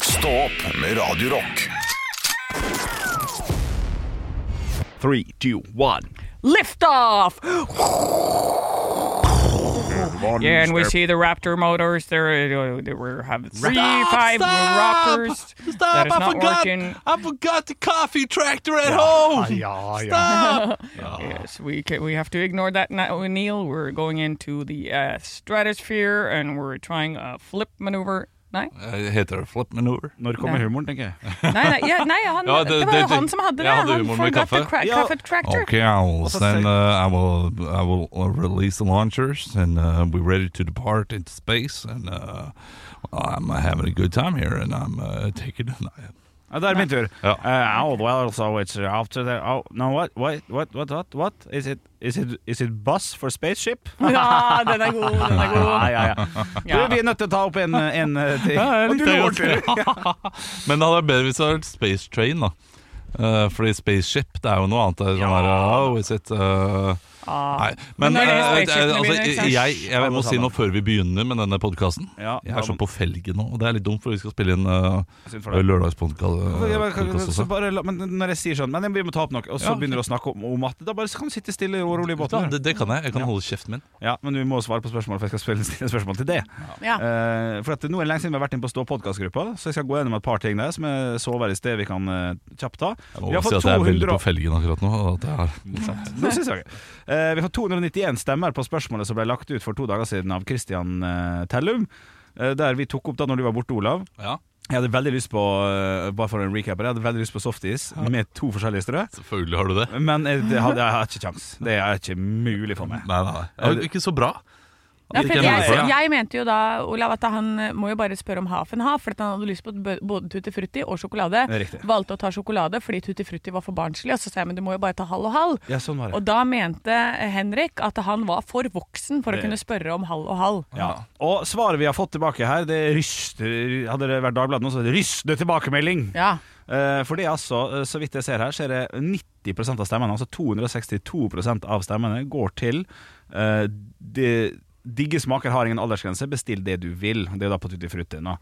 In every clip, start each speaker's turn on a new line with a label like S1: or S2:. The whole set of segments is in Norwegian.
S1: Stå opp med Radio Rock.
S2: Three, two, one.
S3: Lift off!
S1: Morgen,
S3: Yeah, and we
S1: Step.
S3: see the Raptor motors. There, uh, there we have three, five Raptors. that is not working.
S4: I Oh. forgot the coffee tractor at home!
S2: Ja, ja.
S4: Stop!
S3: Yes, we ca we have to ignore that now, Neil. We're going into the uh, stratosphere and we're trying a flip maneuver. Nei,
S4: Eh, Heter det flip maneuver?
S2: Når kommer humoren, tenker jeg.
S3: nei, nei, ja, nei han,
S4: Ja,
S3: det,
S4: det-
S3: var
S4: det-
S3: han som hadde det.
S4: jeg hadde
S3: han
S4: humor med
S3: forgot the
S4: kaffe.
S3: cra-
S2: Ja.
S3: kaffe tractor.
S5: Okay, I'll send. Uh, I will. I will uh, release the launchers, and uh, we're ready to depart into space. And uh, I'm uh, having a good time here, and I'm uh, taking.
S2: Ja, da er det min tur.
S5: Ja.
S2: Uh, oh, well, so it's after the Oh, no, what? What? What? What? What? what? Is, it, is, it, is it bus for spaceship?
S3: Ja, den er god, den er god.
S2: Ja, ja, ja. Du, vi er nødt til å ta opp en, en eh, ting. Og du låter.
S5: Men det hadde vært bedre hvis det hadde vært Space Train, da. Uh, fordi Spaceship det er jo noe annet. Det er sånn der, oh, is it, uh,
S2: Ah.
S5: nei. Men,
S3: Men det er det
S5: eh,
S3: spaceshipene
S5: eh,
S3: begynner,
S5: altså,
S3: ikke sant?
S5: jeg, jeg,
S2: Alle
S5: må si
S2: sammen.
S5: noe før vi begynner med denne podkasten.
S2: Ja,
S5: jeg
S2: da
S5: er så
S2: må-
S5: på felgen nå, og det er litt dumt, for vi skal spille inn uh,
S2: Synd for deg. Ja, men kan-
S5: lørdagspodkast
S2: så
S5: eh, også.
S2: bare la- Men når jeg sier sånn Men vi må ta opp noe, og så
S5: Ja.
S2: begynner du å snakke om, om at Da bare kan du sitte stille og rolig i
S5: Ja,
S2: båten.
S5: det, det kan jeg. Jeg kan holde kjeften min.
S2: Ja, Men vi må svare på spørsmål, for jeg skal spille- stille spørsmål til det.
S3: Ja.
S2: Eh, for at Nå er det lenge siden vi har vært inne på Stå-podkastgruppa, så jeg skal gå gjennom et par ting der som jeg så over i sted vi kan eh, kjapt ta.
S5: Jeg
S2: Vi
S5: må
S2: har
S5: si
S2: fått
S5: at jeg er veldig
S2: 200
S5: på felgen akkurat nå. og At jeg har
S2: Nå synes jeg Eh, Vi har 291 stemmer på spørsmålet som ble lagt ut for to dager siden av Christian eh, Tellum. eh, Der vi tok opp da når du var borte, Olav.
S5: ja,
S2: Jeg hadde veldig lyst på eh, Bare for en recap Jeg hadde veldig lyst på softis med to forskjellige strø.
S5: selvfølgelig har du det.
S2: Men eh, det hadde, jeg har ikke kjangs. Det er ikke mulig for meg.
S5: Nei, nei, nei. Det er jo ikke så bra.
S3: Ja, for
S5: Ikke noe for
S3: jeg,
S5: det.
S3: jeg mente jo da, Olav, at han eh, må jo bare spørre om Hafen ha, for at han hadde lyst på bø- både Tutti Frutti og sjokolade.
S2: Det er riktig.
S3: Valgte å ta sjokolade fordi Tutti Frutti var for barnslig, og så sa jeg men du må jo bare ta halv og halv.
S2: Ja, sånn var
S3: Og
S2: det.
S3: da mente Henrik at han var for voksen for å
S2: Det-
S3: kunne spørre om halv og halv.
S2: Ja. Og svaret vi har fått tilbake her, det ryster Hadde det vært Dagbladet nå, så hadde det rystende tilbakemelding!
S3: Ja.
S2: Eh, For det er altså, eh, så vidt jeg ser her, så er det 90 av stemmene, altså 262 av stemmene, går til eh, de, Digge smaker har ingen aldersgrense, bestill det du vil. Det er da på Tutti Frutti nå.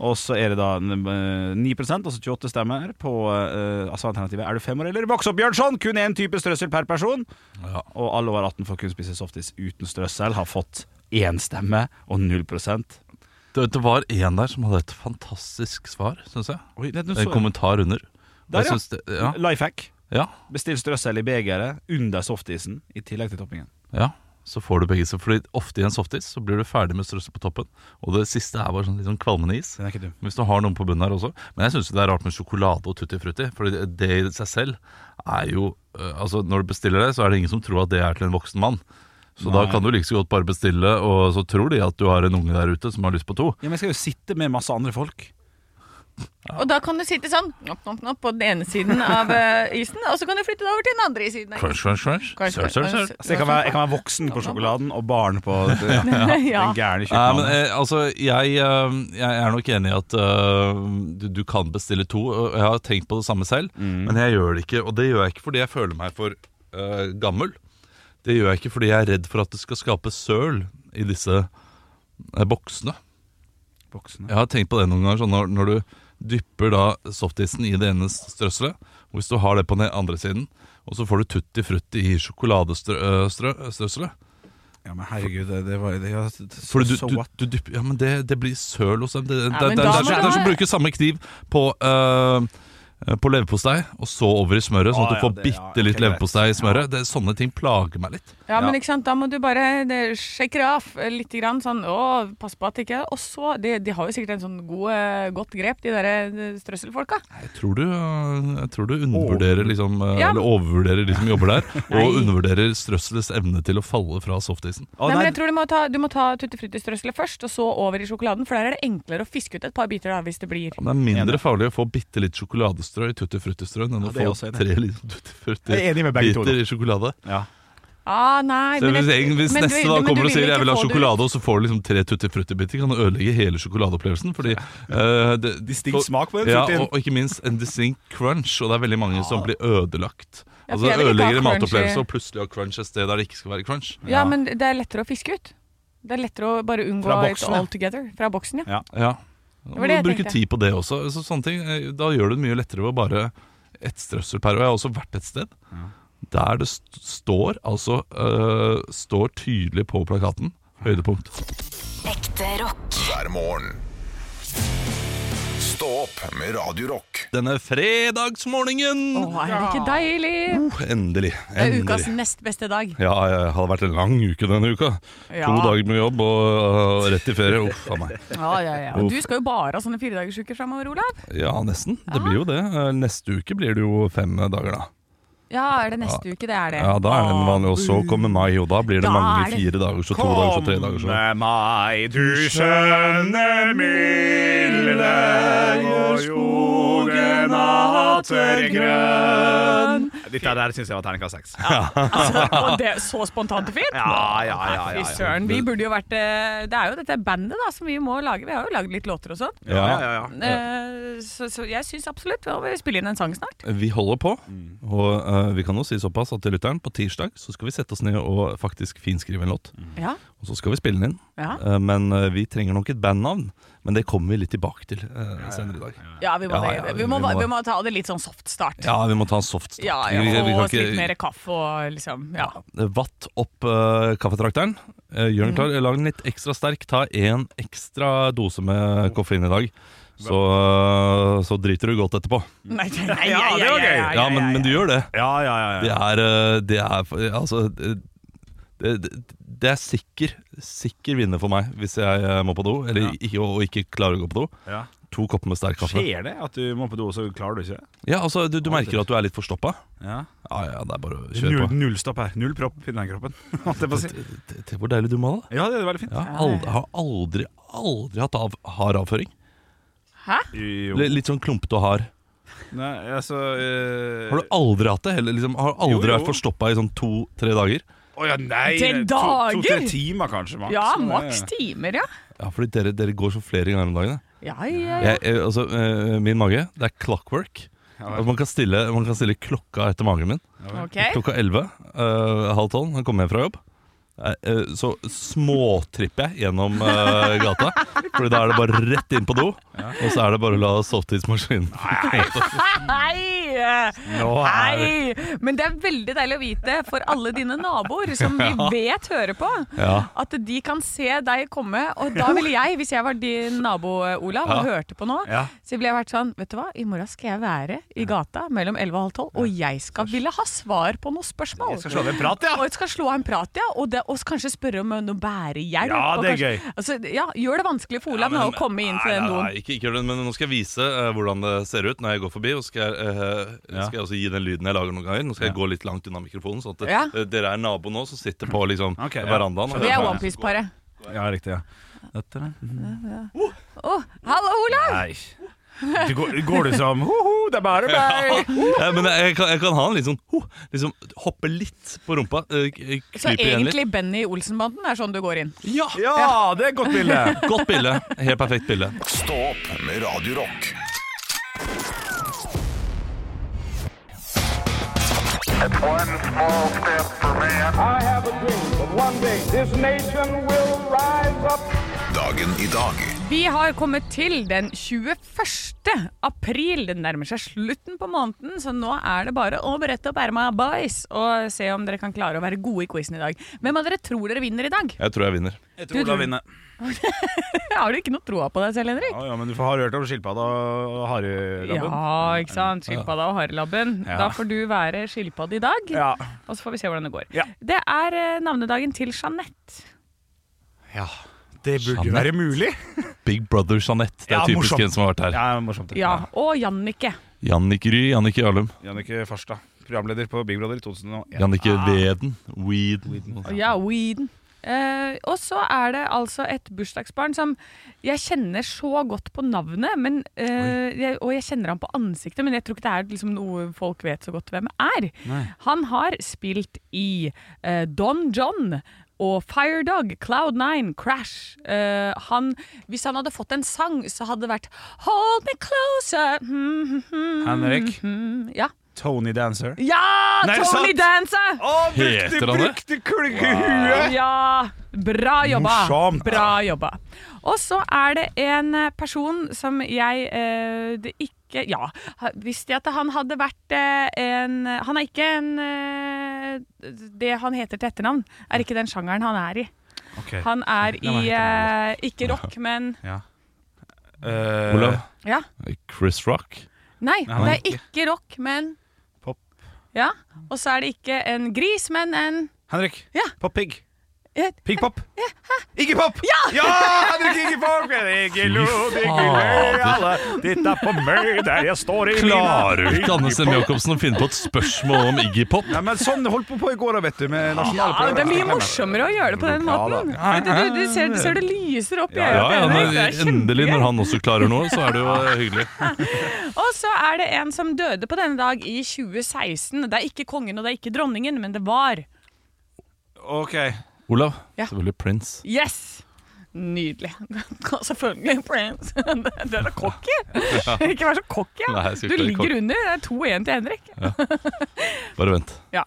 S2: Og så er det da eh, 9 altså 28 stemmer, på eh, altså alternativet er du fem år eller voks opp, Bjørnson! Kun én type strøssel per person.
S5: Ja.
S2: Og alle over 18 får kun spise softis uten strøssel, har fått én stemme og 0 Oi,
S5: Det, det var en der som hadde et fantastisk svar, syns jeg.
S2: det, nå
S5: En
S2: så jeg.
S5: Eh, kommentar under. Jeg
S2: Der, ja.
S5: synes det, ja.
S2: Life hack.
S5: ja.
S2: Bestill strøssel i begeret under softisen i tillegg til toppingen.
S5: Ja, så får du begge så- Fordi ofte i en softis så blir du ferdig med strøsset på toppen Og det siste er bare sånn litt sånn kvalmende is
S2: Den er ikke dum.
S5: Hvis du har noen på bunnen her også Men jeg synes jo det er rart med sjokolade og tutti frutti Fordi det- det i seg selv er jo øh, Altså når du bestiller det så er det ingen som tror at det er til en voksen mann Så da kan du like så godt bare bestille Og så tror de at du har en unge der ute som har lyst på to
S2: Ja, men jeg skal jo sitte med masse andre folk.
S3: Og da kan du sitte sånn knopp, knopp, knopp, på den ene siden av eh, isen, og så kan du flytte deg over til den andre siden. av
S5: Crunch, crunch, crunch Sør, sør, sør
S2: Så Altså, jeg kan være, jeg kan være voksen på sjokoladen og barn på ja,
S3: Ja.
S2: den gærne
S5: Nei, men
S2: kjøkkenet.
S5: eh, altså, jeg, eh, jeg er nok enig i at eh, du, du kan bestille to. Og jeg har tenkt på det samme selv, men jeg gjør det ikke. Og det gjør jeg ikke fordi jeg føler meg for eh, gammel. Det gjør jeg ikke fordi jeg er redd for at det skal skape søl i disse eh, boksene.
S2: Voksne.
S5: Jeg har tenkt på det noen ganger, sånn når, når du dypper da softisen i det ene strøsselet, og hvis du har det på den andre siden, og så får du tutti frutti i eh, sjokoladestrøsselet,
S2: Ja, men herregud, det, det var det, ja,
S5: Fordi du,
S2: so
S5: du,
S2: what?
S5: du dypper Ja, men det, det blir søl hos dem. Det, det,
S3: Ja,
S5: det,
S3: men
S5: det,
S3: da
S5: er
S3: må
S5: som-
S3: du
S5: det er som
S3: ha-
S5: å bruke samme kniv på øh, eh, på leverpostei, og så over i smøret, sånn
S2: Ah,
S5: at du
S2: ja,
S5: får
S2: det- ja,
S5: bitte litt
S2: ok, greit.
S5: leverpostei i smøret. Det, sånne ting plager meg litt.
S3: Ja, men ikke sant, da må du bare det, shake det off eh, litt. Grann, sånn, å, pass på at det ikke Og så, de, de har jo sikkert en sånn god, eh, godt grep, de der eh, strøsselfolka.
S5: Jeg tror du, eh, jeg tror du undervurderer liksom, eh,
S3: Ja.
S5: eller overvurderer de som jobber der, og
S3: Nei.
S5: undervurderer strøsselets evne til å falle fra softisen.
S2: Å,
S3: nei,
S2: nei,
S3: men jeg tror Du må ta, du må ta tuttifruttistrøsselet først, og så over i sjokoladen. For der er det enklere å fiske ut et par biter da, hvis det blir
S5: Det er mindre farlig å få bitte litt sjokoladestrø i tutti-frutti-strøen enn å
S2: Ja, det er
S5: få
S2: også enig.
S5: tre liksom,
S2: Jeg er enig med begge to, da.
S5: tutti-frutti-biter i sjokolade.
S2: ja.
S3: Ah, nei,
S5: Så
S3: men
S5: hvis,
S3: jeg-
S5: hvis
S3: men du-
S5: neste
S3: du-
S5: da
S3: men du
S5: kommer og
S3: vil
S5: sier
S3: ikke
S5: jeg vil ha
S3: få det ut.
S5: sjokolade, og så får du liksom tre tutti-frutti-biter, kan det ødelegge hele sjokoladeopplevelsen. Fordi eh, det,
S2: Distinkt smak på den
S5: ja,
S2: fruktien.
S5: og, og ikke minst en distinct crunch, og det er veldig mange som blir ødelagt.
S3: Ja,
S5: altså
S3: for jeg vil ikke ha
S5: Ødelegger en
S3: crunch i-
S5: matopplevelse og plutselig har crunch et sted der det ikke skal være crunch.
S3: Ja, men det er lettere å fiske ut. Det er lettere å bare unngå
S2: Fra
S3: it
S2: boksen, ja.
S3: all together. Fra boksen, ja.
S5: Ja. Da
S3: var det
S5: må
S3: jeg
S5: du bruke
S3: tenkte.
S5: tid på det også. Så sånne ting, eh, da gjør du det mye lettere ved å bare ett strøssel per. Og jeg har også vært et sted der det st står altså eh, står tydelig på plakaten høydepunkt.
S6: Ekte rock.
S1: hver morgen. Stå opp med Radio Rock.
S5: Denne fredagsmorgenen!
S3: Å, er det ikke deilig?
S5: Uh, endelig.
S3: Det er ukas
S5: endelig.
S3: nest beste dag.
S5: Ja, jeg hadde vært en lang uke denne uka.
S3: Ja.
S5: To dager med jobb og øh, rett i ferie. Uff a meg.
S3: Ja, ja, ja. Og
S5: Uff.
S3: du skal jo bare ha sånne firedagersuker framover, Olav.
S5: Ja, nesten. Det blir jo det. Eh, Neste uke blir det jo fem dager, da.
S3: Ja, er det neste uke? Det er det.
S5: Ja, Da er det en vanlig, og så kommer mai, og da blir det
S3: Da
S5: mange
S3: er det-
S5: fire dager, så to dager, så tre dager. Så.
S2: meg, du skjønne milde, går skogen atter grønn. Dette der syns jeg var terningkast seks. Ja,
S3: Ah. Altså, Og det er så spontant og fint.
S2: ja, ja. ja,
S3: Fy
S2: ja.
S3: søren. Vi burde jo vært eh, Det er jo dette bandet da som vi må lage. Vi har jo lagd litt låter og sånn.
S2: Ja, ja, ja.
S3: Eh, Så, så jeg syns absolutt Vi må spille inn en sang snart.
S5: Vi holder på,
S3: Mm.
S5: og eh, vi kan jo si såpass at til lytteren, på tirsdag så skal vi sette oss ned og faktisk finskrive en låt.
S3: Ja.
S5: Og så skal vi spille den inn.
S3: Ja.
S5: Eh, Men eh, vi trenger nok et bandnavn. Men det kommer vi litt tilbake til eh, senere i dag.
S3: Ja, vi må,
S5: Ja, ja,
S3: det.
S5: vi
S3: Vi må,
S5: må-
S3: vi må ta det litt sånn soft start.
S5: Ja, vi må ta en soft start.
S3: Ja,
S5: Vi- vi
S3: ja,
S5: kan
S3: og
S5: ikke-
S3: litt mer kaffe og liksom Ja.
S5: Vatt opp eh, kaffetrakteren. Eh,
S2: Mm.
S5: gjør den klar. Lag den litt ekstra sterk. Ta en ekstra dose med koffein i dag. Så, eh, så driter du godt etterpå.
S3: Nei, nei, nei,
S2: Ja, det var gøy.
S3: ja,
S5: Ja, men, men du gjør det.
S2: Ja, ja, ja,
S5: Det
S2: ja.
S5: er, eh, det er Altså det, det, det er sikker, sikker vinner for meg hvis jeg eh, må på do, eller
S2: Ja.
S5: ikke, og ikke klarer å gå på do.
S2: ja.
S5: To kopper med sterk kaffe.
S2: Skjer det at du må på do, og så klarer du ikke det?
S5: Ja, altså Du, du merker at du er litt forstoppa?
S2: Ja.
S5: Ja, ja, det er bare å kjøre
S2: Null,
S5: på.
S2: null stopp her. Null propp i den kroppen. Holdt jeg på å si.
S5: Se- se Hvor deilig du må da.
S2: Ja, det er veldig fint.
S5: Jeg har aldri, har aldri, aldri hatt av, hard avføring.
S2: Jo.
S5: L litt sånn klumpete og hard.
S2: Nei, altså eh,
S5: Har du aldri hatt det? Eller liksom, har du aldri
S2: Jo, jo.
S5: vært forstoppa i sånn to-tre dager?
S2: Å ja, nei!
S3: Til dager?
S2: To-tre timer, kanskje, maks.
S3: Ja,
S2: Men,
S3: maks
S2: eh,
S3: timer, ja.
S5: Ja, fordi dere, dere går så flere ganger om dagen. da.
S3: Ja, ja, ja.
S5: Jeg, jeg, altså, eh, min mage, det er clockwork.
S2: vel.
S5: Altså, man, kan stille, man kan stille klokka etter magen min.
S3: Ok.
S5: Klokka elleve, eh, halv tolv, når jeg kommer hjem fra jobb. Eh, eh, så småtripper jeg gjennom eh, gata. Fordi da er det bare rett inn på do, og så er det bare å la sovetidsmaskinen
S3: Hei!
S2: Nå er det
S3: Hei! Men det er veldig deilig å vite for alle dine naboer som vi vet hører på,
S5: Ja.
S3: at de kan se deg komme. Og da ville jeg, hvis jeg var din nabo Olav og hørte på nå,
S2: Ja.
S3: så ville jeg vært sånn Vet du hva, i morgen skal jeg være i gata mellom 11 og halv 12, og jeg skal ville ha svar på noen spørsmål.
S2: Jeg skal slå deg en prat, ja.
S3: Og jeg skal slå av en prat, ja. Og, det, og kanskje spørre om noe bærehjelp.
S2: Ja,
S3: og
S2: det er
S3: kanskje- Altså, ja, gjør det vanskelig for Olav nå å komme inn til
S5: Nei,
S3: den doen.
S5: nei, ikke, ikke gjør det, men nå skal jeg vise eh, hvordan det ser ut når jeg går forbi. Og skal, jeg, eh,
S2: Ja.
S5: skal jeg også gi den lyden jeg lager noen ganger. Nå skal jeg gå litt langt unna mikrofonen, sånn at det-
S3: Ja.
S5: eh, dere er nabo nå som sitter på liksom,
S2: Ok, ja.
S5: verandaen.
S3: Vi er OnePiece-paret.
S2: Ja, riktig, ja. Dette, da.
S3: Å, hallo, Olav!
S2: Nei. Du går, går du som ho-ho, det er bare meg?
S5: Ja, men jeg kan, jeg kan ha en litt sånn ho, liksom, hoppe litt på rumpa. eh, k-
S3: Så
S5: krype igjen litt.
S3: egentlig Benny Olsen-banden er sånn du går inn?
S5: Ja!
S2: Ja, det er et godt bilde.
S5: Godt bilde. Helt perfekt bilde.
S1: Stå opp med Radio Rock.
S7: I have a dream that one day this nation will rise up.
S1: Dagen i dag
S3: Vi har kommet til den 21. april. Det nærmer seg slutten på måneden, så nå er det bare å berette opp erma, boys, og se om dere kan klare å være gode i quizen i dag. Hvem av dere tror dere vinner i dag?
S5: Jeg tror jeg vinner.
S2: Jeg tror Olav vinner.
S3: Har du ikke noe troa på deg selv, Henrik?
S2: Ja, ja, men du får- har du hørt om skilpadda og harelabben?
S3: Ja, ikke sant. Skilpadda og harelabben.
S2: Ja.
S3: Da får du være skilpadde i dag,
S2: Ja.
S3: og så får vi se hvordan det går.
S2: Ja.
S3: Det er eh, navnedagen til Jeanette.
S2: Ja, Det burde jo
S5: Jeanette.
S2: være mulig.
S5: Big Brother Jeanette. Det er
S2: Ja,
S5: typisk
S2: morsomt.
S5: en som har vært her.
S2: Ja, morsomt. det.
S3: Ja, og Jannicke.
S5: Jannicke Ry, Jannicke Jarlum,
S2: Jannicke Farstad, programleder på Big Brother i 2001.
S5: Jannicke
S3: Ah.
S5: Veden, Weeden.
S3: Ja, Weeden. Eh, og så er det altså et bursdagsbarn som jeg kjenner så godt på navnet, men, eh, jeg, og jeg kjenner han på ansiktet, men jeg tror ikke det er liksom noe folk vet så godt hvem er. Han har spilt i eh, Don John og Firedog, Cloud9, Crash. Eh, han, hvis han hadde fått en sang, så hadde det vært Hold me closer. Mm, mm, mm,
S2: Ah. Henrik?
S3: mm, Ja,
S2: Tony Dancer.
S3: ja
S2: Nei, er det
S3: Tony
S2: sant?
S3: Dancer!
S2: Å, brukte,
S5: Heter han det?
S2: brukte kluggehuet!
S3: Ja, bra jobba.
S2: Morsomt.
S3: Bra jobba. Og så er det en eh, person som jeg eh, det ikke Ja, ha- visste jeg at han hadde vært eh, en Han er ikke en eh, Det han heter til etternavn, er ikke den sjangeren han er i.
S2: Ok.
S3: Han er i
S2: hva heter han
S3: eh, Ikke rock, men
S2: Eh,
S5: Olav.
S3: Ja.
S5: Chris Rock.
S3: Nei, det
S2: han
S3: er ikke rock, men
S2: Pop.
S3: Ja. Og så er det ikke en gris, men en
S2: Henrik.
S3: Ja.
S2: Pop-pig.
S3: eh,
S2: Pig-pop. Iggy Pop! Ja! Henrik Iggy Pop! Iggy lo, diggy løy, alle titta på meg der jeg står i
S5: Klarer du ikke Anne Sem Jacobsen å finne på et spørsmål om Iggy Pop?
S2: Nei, men sånn holdt på på i går, da, vet du. Med
S3: Ja,
S2: nasjonalprøven.
S3: det er mye morsommere å gjøre det på den
S2: Ja, da.
S3: måten. For Du, du, du, ser, du ser det lyser opp i
S2: Ja,
S5: Ja,
S3: øyet.
S5: ja,
S3: til Henrik.
S5: når,
S3: Det er
S5: endelig,
S3: kjempegøy.
S5: når han også klarer noe, så er det jo eh, hyggelig.
S3: Og så er det en som døde på denne dag i 2016. Det er ikke kongen og det er ikke dronningen, men det var
S2: Ok.
S5: Olav.
S3: Ja.
S5: Selvfølgelig Prince.
S3: Yes! Nydelig. Og Selvfølgelig Prince. Du er så cocky! Ikke vær så cocky.
S5: Nei,
S3: Ja.
S5: jeg skal
S3: Du
S5: ikke være
S3: ligger under. Det er 2-1 til Henrik.
S5: Bare vent.
S3: Ja.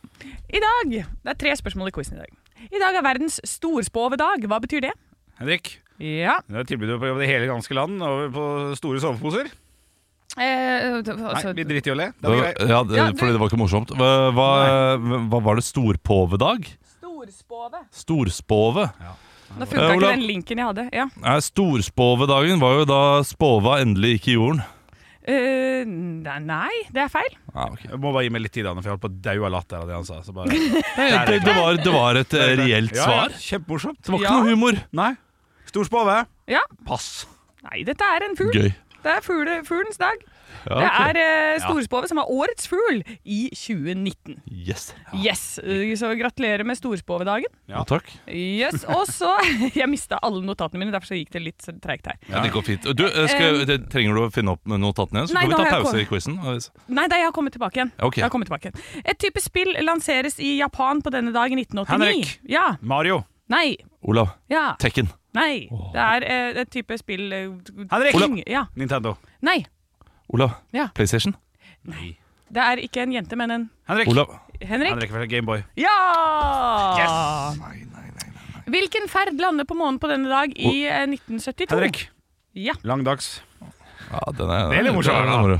S3: I dag Det er tre spørsmål i quizen i dag. I dag er verdens storspåvedag. Hva betyr det?
S2: Henrik.
S3: Ja
S2: Det er tilbudet på det hele ganske land over på store soveposer.
S3: eh,
S2: Nei,
S3: altså,
S2: vi driter i å le. Det var
S5: Ja,
S2: greit.
S5: det-
S3: Ja, du-
S5: fordi det var ikke morsomt. Hva, hva, hva var det? Storpåvedag?
S3: Storspåve.
S5: Storspåve?
S3: Nå funka ikke
S5: Eh, Olav.
S3: den linken jeg hadde. Ja.
S5: Nei, Storspåvedagen var jo da spåva endelig gikk i jorden.
S3: Eh, nei, nei, det er feil.
S2: Jeg må bare gi meg litt tid, Anne, for jeg holdt på å daue av latter av det han sa. Så bare,
S5: Nei, det, det, var, det var et eh, reelt
S2: Ja, ja,
S5: svar.
S2: Kjempemorsomt.
S5: Det var ikke
S3: Ja.
S5: noe humor.
S2: Nei. Stor spåve.
S3: Ja.
S2: Pass.
S3: Nei, dette er en fugl.
S5: Gøy.
S3: Det er fugle, fuglens dag.
S5: Ja,
S3: Det
S5: ok.
S3: er eh, storspove som er årets fugl i 2019.
S5: Yes.
S3: Yes, eh, Så gratulerer med storspovedagen.
S2: Ja.
S5: Ja, takk.
S3: Yes, Og så Jeg mista alle notatene mine, derfor så gikk det litt så treigt her.
S5: Ja, det går fint. Du, eh, skal, det, trenger du å finne opp notatene igjen? Så
S3: Nei,
S5: kan
S3: nå
S5: vi
S3: har
S5: ta
S3: jeg
S5: pause
S3: kommet.
S5: i quizen.
S3: Nei, nei, jeg har kommet tilbake igjen.
S5: Ja, ok.
S3: Jeg har kommet tilbake igjen Et type spill lanseres i Japan på denne dag i 1989.
S2: Henrik.
S3: Ja.
S2: Mario.
S3: Nei.
S5: Olav,
S3: Ja.
S5: Tekken.
S3: Nei. Det er eh, et type spill eh,
S2: Henrik.
S3: ting. Ja.
S2: Nintendo.
S3: Nei.
S5: Olav,
S3: Ja.
S5: PlayStation.
S3: Det er ikke en jente, men en
S2: Henrik.
S5: Olav,
S3: Henrik.
S2: Henrik fra Gameboy.
S3: Ja! Ah. Hvilken ferd lander på månen på denne dag i eh, 1972?
S2: Henrik.
S3: Ja.
S2: Lang dags.
S5: ja, den er,
S2: Det er litt morsomt,
S5: den
S2: da.
S5: moro.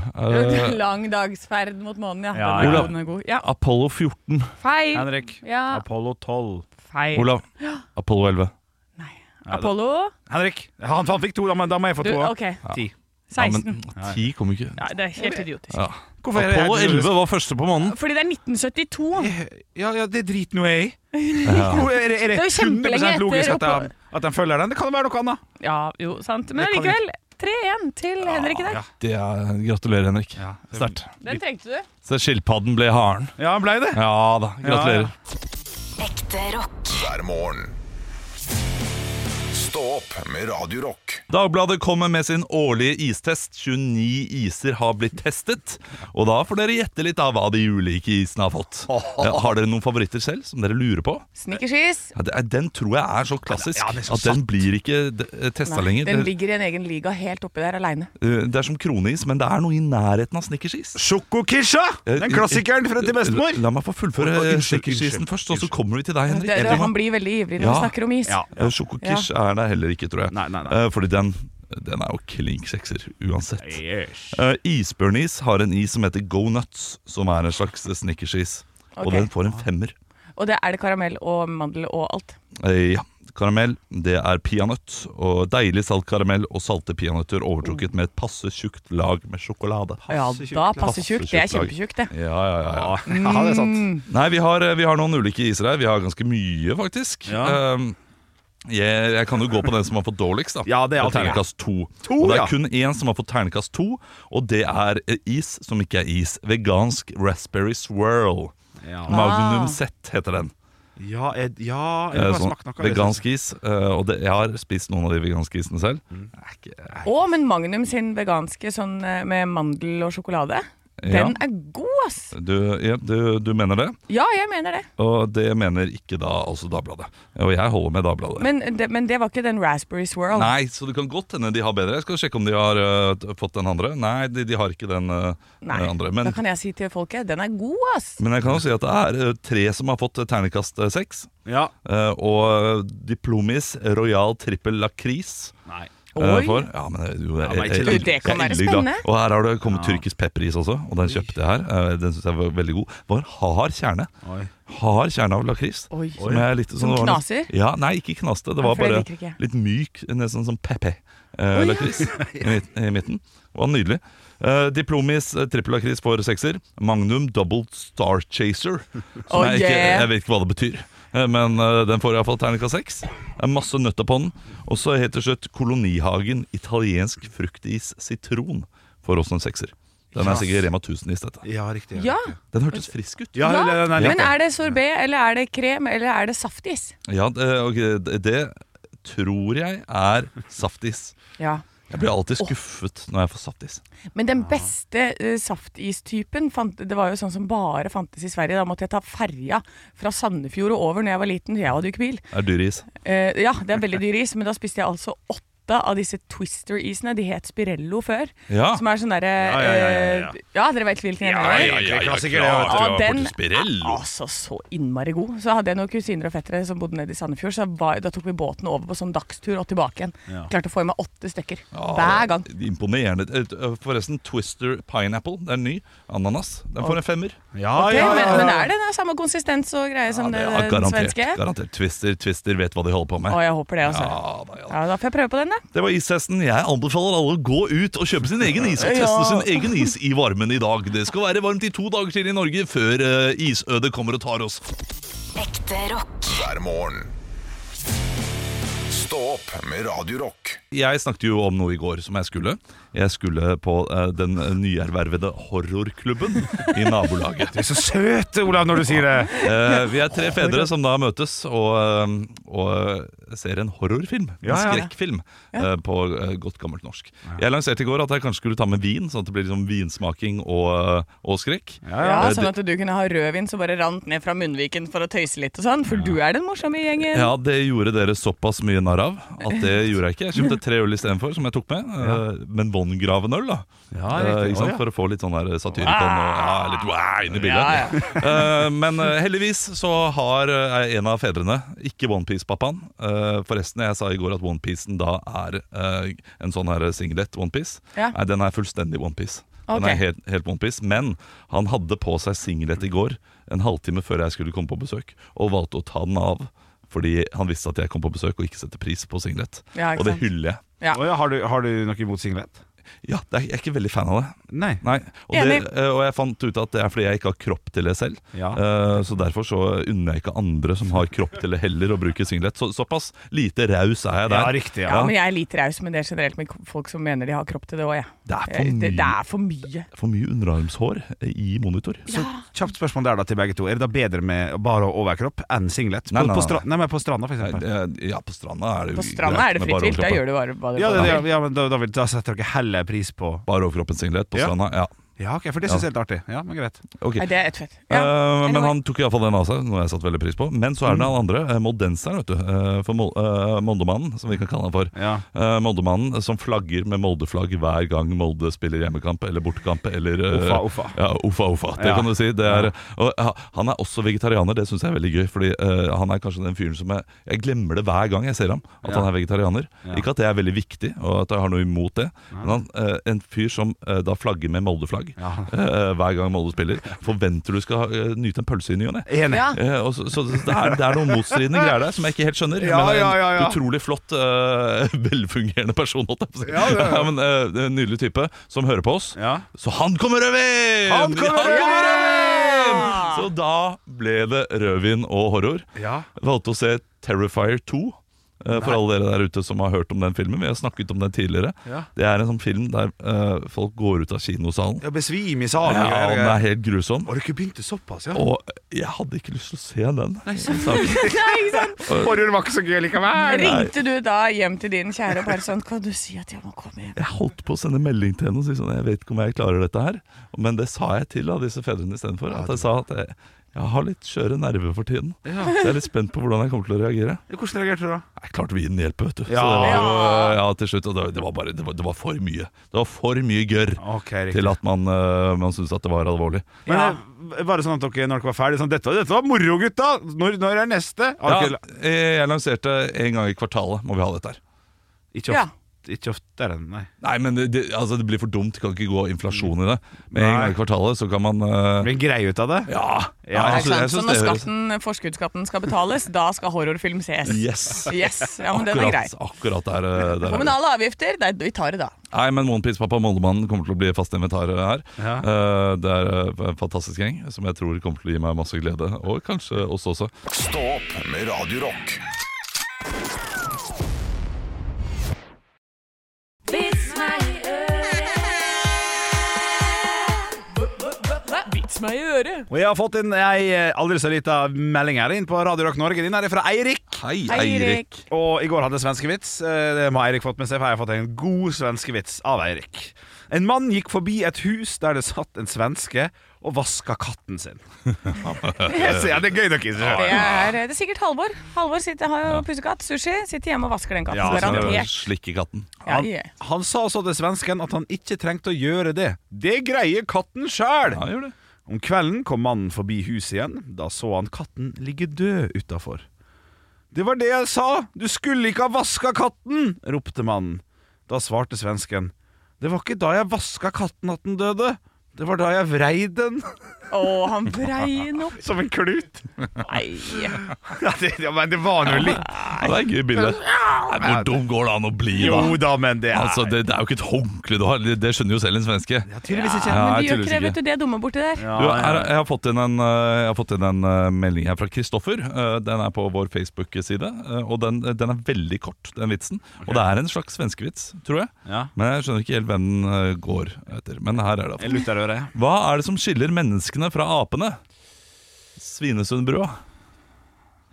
S5: Eh,
S3: Langdagsferd mot månen, ja.
S2: Ja,
S3: Den er
S5: ja.
S3: god, den er god. Ja,
S5: Apollo 14.
S3: feil.
S2: Henrik.
S3: Ja,
S2: Apollo 12.
S3: feil.
S5: Olav, Apollo 11.
S3: Apollo
S2: Henrik. Han, han fikk to, da, men da må jeg få
S3: du,
S2: to.
S3: OK.
S2: Ti.
S5: Ja,
S3: 16.
S5: men 10 kom ikke.
S3: Ja, det er helt idiotisk.
S5: Ja.
S2: Hvorfor er det
S5: Apollo
S2: helt
S5: 11 var første på månen.
S3: Fordi det er 1972.
S2: Ja, ja, det driter nå jeg i.
S5: Ja.
S2: Hvor- Er det, er det
S3: Det er jo
S2: 100
S3: kjempelenge etter
S2: logisk at
S3: Apollo.
S2: de, at de følger den? Det kan jo være noe annet.
S3: Ja, jo, sant. Men
S2: Det kan
S3: likevel 3-1 til Henrik i dag.
S2: ja.
S5: Det er, gratulerer, Henrik.
S2: Ja.
S5: Sterkt.
S3: Den trengte du.
S5: Så skilpadden ble haren.
S2: Ja, han ble det.
S5: Ja da, gratulerer.
S6: Ekte rock.
S1: hver morgen. Stå opp med Radio Rock.
S5: Dagbladet kommer med sin årlige istest. 29 iser har blitt testet. Og da får dere gjette litt av hva de ulike isene har fått. Eh, Har dere noen favoritter selv som dere lurer på?
S3: Snickerskis.
S5: Ja, det er, den tror jeg er så klassisk
S2: Ja, det er så
S5: at den blir ikke testa lenger.
S3: Den
S5: Det,
S3: ligger i en egen liga helt oppi der aleine.
S5: eh, det er som kroneis, men det er noe i nærheten av snickersis.
S2: Sjokokisha! Den klassikeren fra til bestemor.
S5: La meg få fullføre
S2: Å, å,
S5: eh,
S2: unnskyld,
S5: snickersisen
S2: unnskyld,
S5: først, og så kommer vi til deg, Henrik.
S3: Det- det-
S5: Eller-
S3: Han blir veldig ivrig når
S5: Ja.
S3: vi snakker om is.
S2: Ja.
S5: Eh, Sjokokish er det heller ikke, tror jeg.
S2: Nei, nei, nei.
S5: Eh, Fordi den, den er jo klink sekser uansett. Eh, Isbjørnis har en is som heter Go Nuts, som er en slags snickersis. Og
S3: Ok.
S5: den får en femmer.
S3: Og det er det karamell og mandel og alt.
S5: Eh, Ja, karamell, det er peanøtt. Og deilig salt karamell og salte peanøtter overtrukket med et passe tjukt lag med sjokolade.
S3: Ja, da passer
S5: Passe
S3: tjukt. Det er
S5: tjukt lag.
S3: kjempetjukt, det.
S5: Ja, ja, ja, ja.
S2: Ja, det er
S3: Mm.
S2: sant.
S5: Nei, vi har, eh, vi har noen ulike iser her. Vi har ganske mye, faktisk.
S2: Ja.
S5: Ehm, jeg, jeg kan jo gå på den som har fått dårligst, da.
S2: Ja, det er alltid-
S5: ternekast to.
S2: To,
S5: og det er
S2: ja.
S5: kun én som har fått ternekast to, og det er eh, is som ikke er is. Vegansk raspberry swirl.
S2: Ja.
S5: Magnum Z heter den.
S2: Ja, jeg, ja, jeg
S5: Eh,
S2: har
S5: Sånn,
S2: smakt noe av det.
S5: vegansk is. eh, Og det, jeg har spist noen av de veganske isene selv.
S2: Mm.
S5: Er ikke- er-
S3: Å, men Magnum sin veganske sånn eh, med mandel og sjokolade,
S5: Ja.
S3: den er god, ass!
S5: Du, ja, du, du mener det,
S3: Ja, jeg mener det.
S5: og det mener ikke da altså Dagbladet. Og jeg holder med Dagbladet.
S3: Men det, men det var ikke den Raspberry Swirl.
S5: Nei, så det kan godt hende de har bedre. Jeg skal sjekke om de har øh, t- fått den andre. Nei, de, de har ikke den øh,
S3: Nei,
S5: andre. Men,
S3: Da kan jeg si til folket den er god, ass!
S5: men jeg kan jo si at det er øh, tre som har fått øh, ternekast øh, seks.
S2: Ja.
S5: øh, og øh, Diplomis Royal Trippel Lakris.
S2: Nei.
S5: øh,
S3: Oi.
S5: for. Ja, men, øh, jo, jeg,
S2: men
S5: jeg,
S2: ikke
S5: jeg,
S2: det.
S5: jeg,
S3: Det kan
S5: er
S3: være
S5: ille glad.
S3: spennende.
S5: Og her har det kommet tyrkisk pepperis også, og den kjøpte jeg her. Øh, den syns jeg var veldig god. Var hard kjerne.
S2: Oi.
S5: Hard kjerne av lakris.
S3: Oi.
S5: Som, jeg likte,
S3: Som
S5: det var litt- sånn
S3: knaser?
S5: Ja, Nei, ikke knaste. Det
S3: Nei,
S5: var
S3: for det
S5: bare
S3: liker ikke jeg.
S5: litt myk, nesten som pepe eh, lakris i, midt- i midten. Det var nydelig. Eh, Diplomis eh, trippel lakris for sekser. Magnum double star chaser. Som
S3: Oh,
S5: jeg, ikke,
S3: yeah.
S5: jeg vet ikke hva det betyr. eh, Men eh, den får iallfall terningkast seks. Det er Masse nøtter på den. Og så helt til slutt Kolonihagen italiensk fruktis sitron for oss en sekser. Den er sikkert Rema 1000-is, dette.
S2: Ja, riktig.
S3: Ja,
S5: Den hørtes frisk ut.
S2: Ja,
S3: ja.
S2: nei,
S3: Men
S2: nei,
S3: er det sorbé, eller er det krem, eller er det saftis?
S5: Ja, det, ok, det- det tror jeg er saftis.
S3: Ja.
S5: Jeg blir alltid skuffet når jeg får saftis.
S3: Men
S5: Ah.
S3: den beste eh, saftistypen fant, Det var jo sånn som bare fantes i Sverige. Da måtte jeg ta ferja fra Sandefjord og over når jeg var liten. Jeg hadde jo ikke bil.
S5: Det er dyr is.
S3: Eh, ja, det er veldig dyr is, men da spiste jeg altså åtte av disse Twister-isene. De het Spirello før.
S5: Ja.
S3: Som er sånn derre
S2: Ja, ja, ja, ja, ja.
S3: eh, ja, dere vet hvilken jeg mener.
S2: klassiker,
S3: Ja,
S5: klart. Det var
S3: den er
S5: Portespirello.
S3: altså så innmari god. Så hadde jeg noen kusiner og fettere som bodde nede i Sandefjord, så var, da tok vi båten over på sånn dagstur og tilbake igjen.
S2: Ja.
S3: Klarte å få i meg åtte stykker
S5: Ja,
S3: hver gang.
S5: Imponerende. Eh, Forresten, Twister Pineapple, det er ny. Ananas. Den får en femmer.
S2: Ja,
S3: Ok,
S2: ja, ja,
S3: Men, men
S2: ja.
S3: er det den samme konsistens og greie som
S5: det
S3: det,
S5: er
S3: den
S5: garantert.
S3: svenske?
S5: garantert. Twister, Twister vet hva de holder på med.
S3: Å, jeg håper det, altså. Ja.
S5: Ja, da, ja, da.
S3: Da får jeg prøve på den, da.
S5: Det var ishesten. Jeg anbefaler alle å gå ut og kjøpe sin egen is og teste
S3: Ja.
S5: sin egen is i varmen i dag. Det skal være varmt i to dager til i Norge før eh, isødet kommer og tar oss.
S6: Ekte rock.
S1: hver morgen. Stå opp med Radio Rock.
S5: Jeg snakket jo om noe i går som jeg skulle. Jeg skulle på eh, den nyervervede horrorklubben i nabolaget.
S2: Du er så søt, Olav, når du sier det.
S5: Eh, vi er tre fedre som da møtes og, eh, og ser en horrorfilm. En
S2: Ja, ja.
S5: skrekkfilm eh, på eh, godt gammelt norsk. Jeg lanserte i går at jeg kanskje skulle ta med vin, sånn at det blir liksom vinsmaking og, eh, og skrekk.
S2: Ja,
S3: Ja,
S2: ja.
S5: Eh,
S3: Sånn at du kunne ha rødvin som bare rant ned fra munnviken for å tøyse litt og sånn. For du er den morsomme i gjengen.
S5: Ja, det gjorde dere såpass mye narr av at det gjorde jeg ikke. Jeg kjøpte tre øl istedenfor, som jeg tok med. eh, Men von Graven-øl, da.
S2: Ja,
S5: Eh,
S2: riktig.
S5: ikke sant?
S2: Å, ja. Ah!
S5: For å få litt sånn der satirikon og ja, litt wow inn i bildet. Eh, men eh, heldigvis så har eh, en av fedrene, ikke Onepiece-pappaen eh, Forresten, jeg sa i går at Onepiecen da er eh, en sånn her singlet Onepiece.
S3: Ja.
S5: Nei, den er fullstendig Onepiece. Den
S3: Ok.
S5: er helt, helt Onepiece. Men han hadde på seg singlet i går, en halvtime før jeg skulle komme på besøk, og valgte å ta den av. Fordi han visste at jeg kom på besøk og ikke setter pris på singlet.
S3: Ja, ikke
S5: og det
S3: sant.
S5: hyller jeg.
S3: Ja.
S2: Å, ja, har, du, har du noe imot singlet?
S5: Ja, det er, Jeg er ikke veldig fan av det.
S2: Nei.
S5: Nei, og, det,
S3: Enig.
S5: eh, og jeg fant ut at det er fordi jeg ikke har kropp til det selv.
S2: Ja.
S5: Eh, Så derfor så unner jeg ikke andre som har kropp til det heller, å bruke singlet. Så, såpass lite raus er jeg der.
S2: Ja, riktig.
S3: Ja,
S2: Ja.
S3: men jeg er litt raus med det generelt, med folk som mener de har kropp til det òg, jeg.
S5: Det er for
S3: Eh, Det, det
S5: mye.
S3: er for mye.
S5: For mye underarmshår eh, i monitor.
S2: Så kjapt spørsmål der da til begge to. Er det da bedre med bare overkropp enn singlet?
S5: Nei,
S2: på,
S5: nei,
S2: på,
S5: nei.
S2: stra nei men på stranda, for
S5: Nei,
S2: eksempel.
S5: det- Ja, på stranda er det jo
S3: På stranda er det fritt vilt. Da gjør du bare hva du
S2: Ja, det,
S3: vil.
S2: ja, ja men da, da, vil, da setter dere heller pris på
S5: Bare overkroppen singlet på
S2: Ja.
S5: stranda, ja.
S2: Ja, ok, for det syns jeg er helt artig. Ja, men greit.
S5: Ok.
S3: Nei, det er Mm. et fett.
S5: Eh, men
S3: anyway.
S5: han tok iallfall den av seg, noe jeg satte veldig pris på. Men så er det han andre, eh, moldenseren, vet du. eh, For Mol- eh, Moldemannen, som vi kan kalle han for.
S2: Ja.
S5: Eh, Moldemannen eh, som flagger med Molde-flagg hver gang Molde spiller hjemmekamp eller bortekamp. Eller, eh,
S2: Uffa, uffa.
S5: Ja, uffa, uffa. Det
S2: Ja.
S5: kan du si. Det er, og, ja, han er også vegetarianer, det syns jeg er veldig gøy. Fordi eh, han er kanskje den fyren som jeg, jeg glemmer det hver gang jeg ser ham, at han er vegetarianer.
S2: Ja.
S5: Ikke at det er veldig viktig, og at jeg har noe imot det, men han, eh, en fyr som eh, da flagger med Molde-flagg dag eh, hver gang Molde spiller, forventer du skal eh, nyte en pølse i ny og ne.
S2: Enig.
S3: Ja.
S5: Eh, og så, så det, er, det er noen motstridende greier der som jeg ikke helt skjønner.
S2: Ja,
S5: men det er
S2: ja, ja, ja.
S5: en utrolig flott, eh, velfungerende person, holdt jeg på å si.
S2: Ja, ja, ja.
S5: men, eh, det er en nydelig type som hører på oss.
S2: Ja.
S5: Så han kommer rødvin!
S2: Han kommer
S5: rødvin! Så da ble det rødvin og horror.
S2: Ja.
S5: Valgte å se Terrifier 2. eh, For alle dere der ute som har hørt om den filmen. Vi har snakket om den tidligere.
S2: Ja.
S5: Det er en sånn film der eh, folk går ut av kinosalen.
S2: Ja, besvim i salen.
S5: Ja,
S2: greier,
S5: den
S2: greier.
S5: er helt grusom.
S2: Har du ikke begynt det såpass, ja?
S5: Og jeg hadde ikke lyst til å se den.
S2: Horror var ikke så gøy likevel.
S3: Ringte du da hjem til din kjære og bare sånn Kan du si at jeg må komme hjem?
S5: Jeg holdt på å sende melding til henne og si sånn Jeg vet ikke om jeg klarer dette her. Men det sa jeg til da, disse fedrene istedenfor. At jeg sa at jeg, jeg har litt skjøre nerver for tiden. Så jeg er litt spent på hvordan jeg kommer til å reagere.
S2: Hvordan reagerte du da?
S5: Jeg klarte vinen hjelpe, vet du. Så
S2: Ja.
S5: det var jo eh, ja, til slutt. Og det, det, var bare, det, var, det var for mye. Det var for mye gørr
S2: Ok, riktig.
S5: til at man, eh, man syntes at det var alvorlig.
S2: Men eh, var det sånn at dere når dere var ferdig sånn, dette, 'Dette var moro, gutta! Når, når er neste?' Har
S5: Ja, eh,
S2: dere-
S5: jeg jeg lanserte en gang i kvartalet må vi ha dette her.
S2: Ikke,
S3: Ja.
S2: ofte, ikke oftere enn nei.
S5: Nei, men det, det, altså, det blir for dumt. Det kan ikke gå inflasjon i det. Med en
S2: Nei.
S5: gang i kvartalet så kan man eh,
S2: Blir en grei ut av det.
S5: Ja.
S2: Ja,
S5: jeg
S3: Er det
S5: synes- jeg
S3: sant? Så
S5: synes
S3: når
S5: det høres-
S3: skatten, forskuddsskatten skal betales, da skal horrorfilm ses.
S5: Yes.
S3: Yes, ja, men den er grei.
S5: Akkurat, akkurat der, eh, der. er det.
S3: Kommunale avgifter, nei, vi tar det da.
S5: Nei, men Onepiece-pappa Moldemannen kommer til å bli fast invitar her. Eh, det er eh, en fantastisk gjeng som jeg tror kommer til å gi meg masse glede. Og kanskje oss også.
S1: Stå opp med Radio Rock.
S3: Vits meg i øret.
S2: Og jeg har fått inn ei eh, aldri så lita melding her inn på Radio Rock Norge. Din er fra Eirik.
S5: Hei,
S3: Eirik.
S2: Og i går hadde jeg svenskevits. Eh, Det må Eirik fått med seg, for jeg har fått en god svenskevits av Eirik. En mann gikk forbi et hus der det satt en svenske og vaska katten sin. jeg ser, det er gøy nok i seg
S3: Det
S2: selv.
S3: er, det er sikkert Halvor. Halvor sitter, har jo pussekatt. Sushi sitter hjemme og vasker den katten.
S2: Ja, så det er
S3: Garantert.
S5: Slikkekatten.
S3: Ja,
S2: Han,
S3: ja.
S2: han sa så til svensken at han ikke trengte å gjøre det. Det greier katten sjæl!
S5: Ja, gjør det.
S2: Om kvelden kom mannen forbi huset igjen. Da så han katten ligge død utafor. Det var det jeg sa! Du skulle ikke ha vaska katten! ropte mannen. Da svarte svensken. Det var ikke da jeg vaska katten at den døde. Det var da jeg vrei den
S3: Å, han vrei den opp.
S2: som en klut.
S3: Nei.
S2: Ja, det, ja, men det var nå litt
S5: Ja, det er et gøy bilde. Nei, Hvor dum går det an å bli,
S2: Jo
S5: da?
S2: da, men det er
S5: Altså, det, det er jo ikke et håndkle du har. Det, det skjønner jo selv en svenske.
S2: Tydeligvis ikke.
S3: Men
S5: Ja, jeg
S3: du gjør
S5: tydeligvis
S3: ikke det,
S5: ikke.
S3: vet du. Det er dumme borti der.
S2: Ah,
S5: Du, her, jeg har fått inn en, eh, jeg har fått inn en eh, melding her fra Kristoffer. Eh, Den er på vår Facebook-side, eh, og den, den er veldig kort, den vitsen. Og det er en slags svenskevits, tror jeg.
S2: Ja.
S5: Men jeg skjønner ikke helt hvem den eh, går etter. Men her er det. altså.
S2: En lutherøre.
S5: Hva er det som skiller menneskene fra apene? Svinesundbrua.
S2: Ah,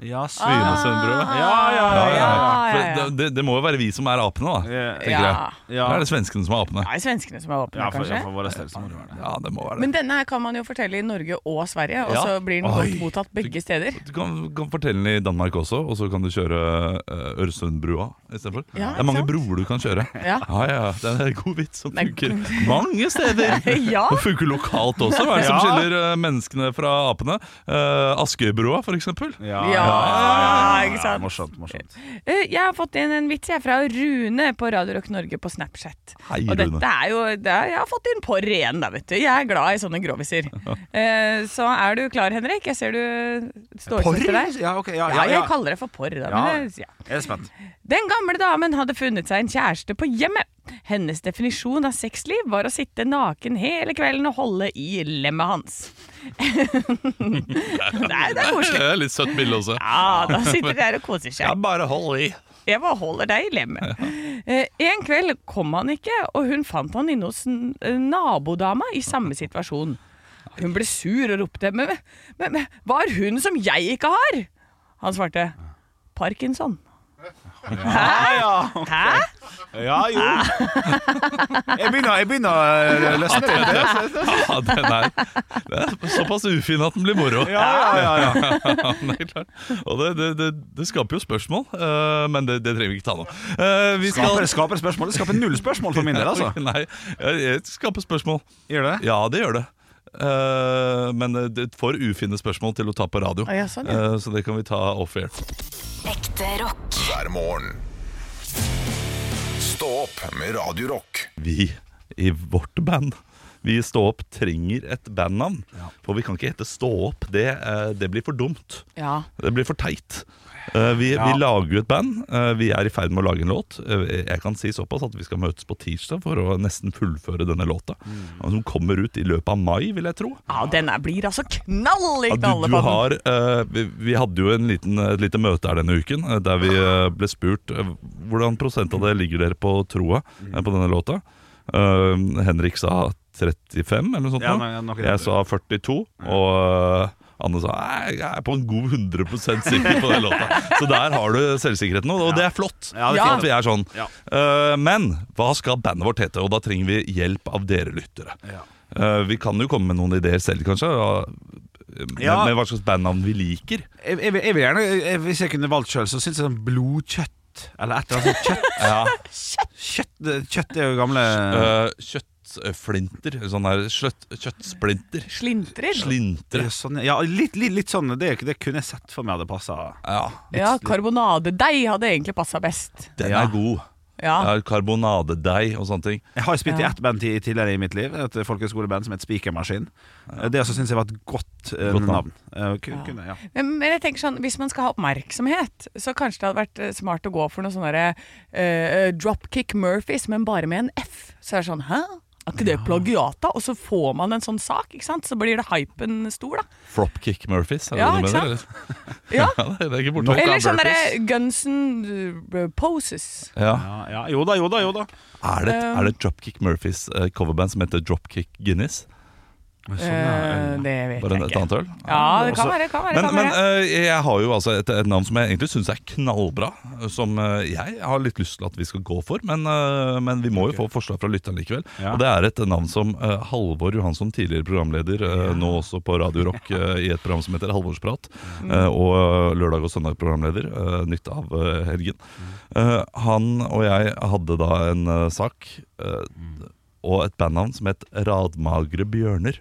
S2: Ja,
S5: Ah. Svinesundbrua.
S2: Ja, ja, ja. ja,
S3: ja,
S5: For
S3: ja.
S5: Det, det, det må jo være vi som er apene, da.
S2: ja.
S5: Tenker jeg.
S3: Ja.
S2: Ja.
S5: Eller er det svenskene som er apene?
S3: Det er svenskene som er åpne,
S2: ja, for,
S3: kanskje.
S2: ja, for våre steder så må det være det.
S5: Ja, det må være det.
S3: Men denne her kan man jo fortelle i Norge og Sverige, og
S5: Ja.
S3: så blir den
S5: Oi.
S3: godt mottatt begge steder.
S5: Du kan, kan fortelle den i Danmark også, og så kan du kjøre eh, Øresundbrua istedenfor.
S3: Ja,
S5: det er mange
S3: sant.
S5: broer du kan kjøre.
S3: Ja.
S5: ja, ja, Det er en god vits som
S3: Nei.
S5: funker mange steder.
S3: Ja.
S5: Det funker lokalt også. Hva er det som
S2: Ja.
S5: skiller eh, menneskene fra apene? Uh, Askøybrua, for eksempel.
S2: Ja,
S3: Ja, ikke sant?
S2: Morsomt, morsomt.
S3: Eh, Jeg har fått inn en vits jeg fra Rune på Radio Rock Norge på Snapchat.
S5: Hei,
S3: Og
S5: Rune.
S3: dette er jo det er, Jeg har fått inn på ren, da, vet du. Jeg er glad i sånne groviser. Eh, så er du klar, Henrik? Jeg ser du står ikke etter deg.
S2: Ja, ok, ja,
S3: Ja, jeg kaller det for porr. Da,
S2: Ja.
S3: men det, ja.
S2: Jeg er spent.
S3: Den gamle damen hadde funnet seg en kjæreste på hjemmet. Hennes definisjon av sexliv var å sitte naken hele kvelden og holde i lemmet hans. Nei, det er
S5: Det
S3: koselig.
S5: er litt søtt bilde også.
S3: Ja, da sitter de der og koser seg.
S5: bare hold i.
S3: Jeg bare holder deg i lemmet. Eh, en kveld kom han ikke, og hun fant han inne hos n- eh, nabodama i samme situasjon. Hun ble sur og ropte men, men, men hva har hun som jeg ikke har? Han svarte parkinson. Hæ?
S2: Ja, jo. Jeg begynner, jeg begynner eh, å løsne litt.
S5: Ja, den er, den er såpass ufin at den blir moro.
S2: Ja, ja, ja, ja.
S5: Ja, det er klart. Og det, det, det, det skaper jo spørsmål, eh, men det, det trenger vi ikke ta nå. Eh, vi skal
S2: Skaper, skaper spørsmål. Det skaper null spørsmål for min del, altså.
S5: Nei, jeg, jeg skaper spørsmål.
S2: Gjør det?
S5: Ja, det gjør det. Eh, men det for ufine spørsmål til å ta på radio.
S3: Å, ja, sånn, ja.
S5: Eh, så det kan vi ta off-air.
S6: Ekte rock.
S1: hver morgen. Stå opp med Radio Rock.
S5: Vi i vårt band. Vi i Stå opp trenger et bandnavn. For vi kan ikke hete Stå opp. Det, eh, det blir for dumt.
S3: Ja.
S5: Det blir for teit. Eh, vi,
S2: Ja.
S5: vi lager jo et band. Eh, vi er i ferd med å lage en låt. Eh, jeg kan si såpass at vi skal møtes på tirsdag for å nesten fullføre denne låta.
S2: Mm.
S5: Som kommer ut i løpet av mai, vil jeg tro.
S3: Ja, den er- blir altså knall i
S5: Ja, du, du
S3: knallepadden.
S5: har, eh, vi, vi hadde jo en liten, et lite møte her denne uken eh, der vi eh, ble spurt eh, hvordan prosent av det ligger dere på troa
S2: Mm.
S5: eh, på denne låta. Eh, Henrik sa 35 eller noe sånt.
S2: Ja,
S5: nå.
S2: nei, nok i det.
S5: jeg sa 42, og eh, Anne sa «Nei, jeg er på en god 100 sikker på den låta. Så der har du selvsikkerheten, og det er flott.
S2: Ja, det er
S5: det er
S2: fint.
S5: at vi er sånn.
S2: Ja.
S5: Eh, men hva skal bandet vårt hete? Og da trenger vi hjelp av dere lyttere. Eh, vi kan jo komme med noen ideer selv, kanskje. og med,
S2: Ja.
S5: med hva slags bandnavn vi liker.
S2: Jeg, jeg, vil- jeg vil gjerne, jeg, Hvis jeg kunne valgt sjøl, så syns jeg sånn blodkjøtt eller et eller annet sånt kjøtt. Kjøtt, det- kjøtt er jo gamle
S5: Eh, kjøttflinter. Sånn her sløtt, kjøttsplinter.
S3: Slintrer.
S5: Slintre.
S2: Ja, sånn, ja, litt, litt, litt sånn. Det, er ikke- det kunne jeg sett for meg hadde passa.
S5: Ja,
S3: ja, karbonadedeig hadde egentlig passa best.
S5: den
S2: Ja.
S5: er god.
S3: Ja.
S5: Ja, karbonadedeig og sånne ting.
S2: Jeg har jo spilt i
S3: Ja.
S2: ett band ti- tidligere i mitt liv, et folkehøyskoleband som het Spikermaskin. Det også syns jeg var et godt, eh,
S5: Godt navn.
S2: navn. Eh, ku- kunne, ja.
S3: Men men jeg tenker sånn, hvis man skal ha oppmerksomhet, så kanskje det hadde vært eh, smart å gå for noe sånn derre eh, Dropkick Murphys, men bare med en F. Så er det sånn Hæ? Er ikke det plagiata? Og så får man en sånn sak, ikke sant? Så blir det hypen stor, da.
S5: Flopkick Murphys. Er det
S3: Ja,
S5: det du
S3: ikke
S5: mener, eller?
S3: Ja.
S5: Ja, det er ikke borte.
S2: Nok av
S3: Eller sånn
S2: burpees.
S3: derre Guns N' R- Poses.
S5: Ja.
S2: Ja, ja. Jo da, jo da, jo da.
S5: Er, det,
S3: Eh.
S5: er det Dropkick Murphys eh, coverband som heter Dropkick Guinness?
S3: Eh, det vet
S5: Bare Sånn,
S3: jeg
S5: en, et
S3: ikke.
S5: annet øl?
S3: Ja, det kan
S5: Også-
S3: være. det kan være, det
S5: Men,
S3: kan
S5: men
S3: være.
S5: eh, jeg har jo altså et, et navn som jeg egentlig syns er knallbra, som eh, jeg har litt lyst til at vi skal gå for. Men, eh, men vi må jo få forslag fra lytteren likevel.
S2: Ja.
S5: Og det er et navn som eh, Halvor Johansson, tidligere programleder, eh, nå også på Radio Rock eh, i et program som heter Halvorsprat, eh, og eh, lørdag og søndag programleder, eh, nytt av eh, helgen. Eh, han og jeg hadde da en eh, sak eh, og et bandnavn som het Radmagre bjørner.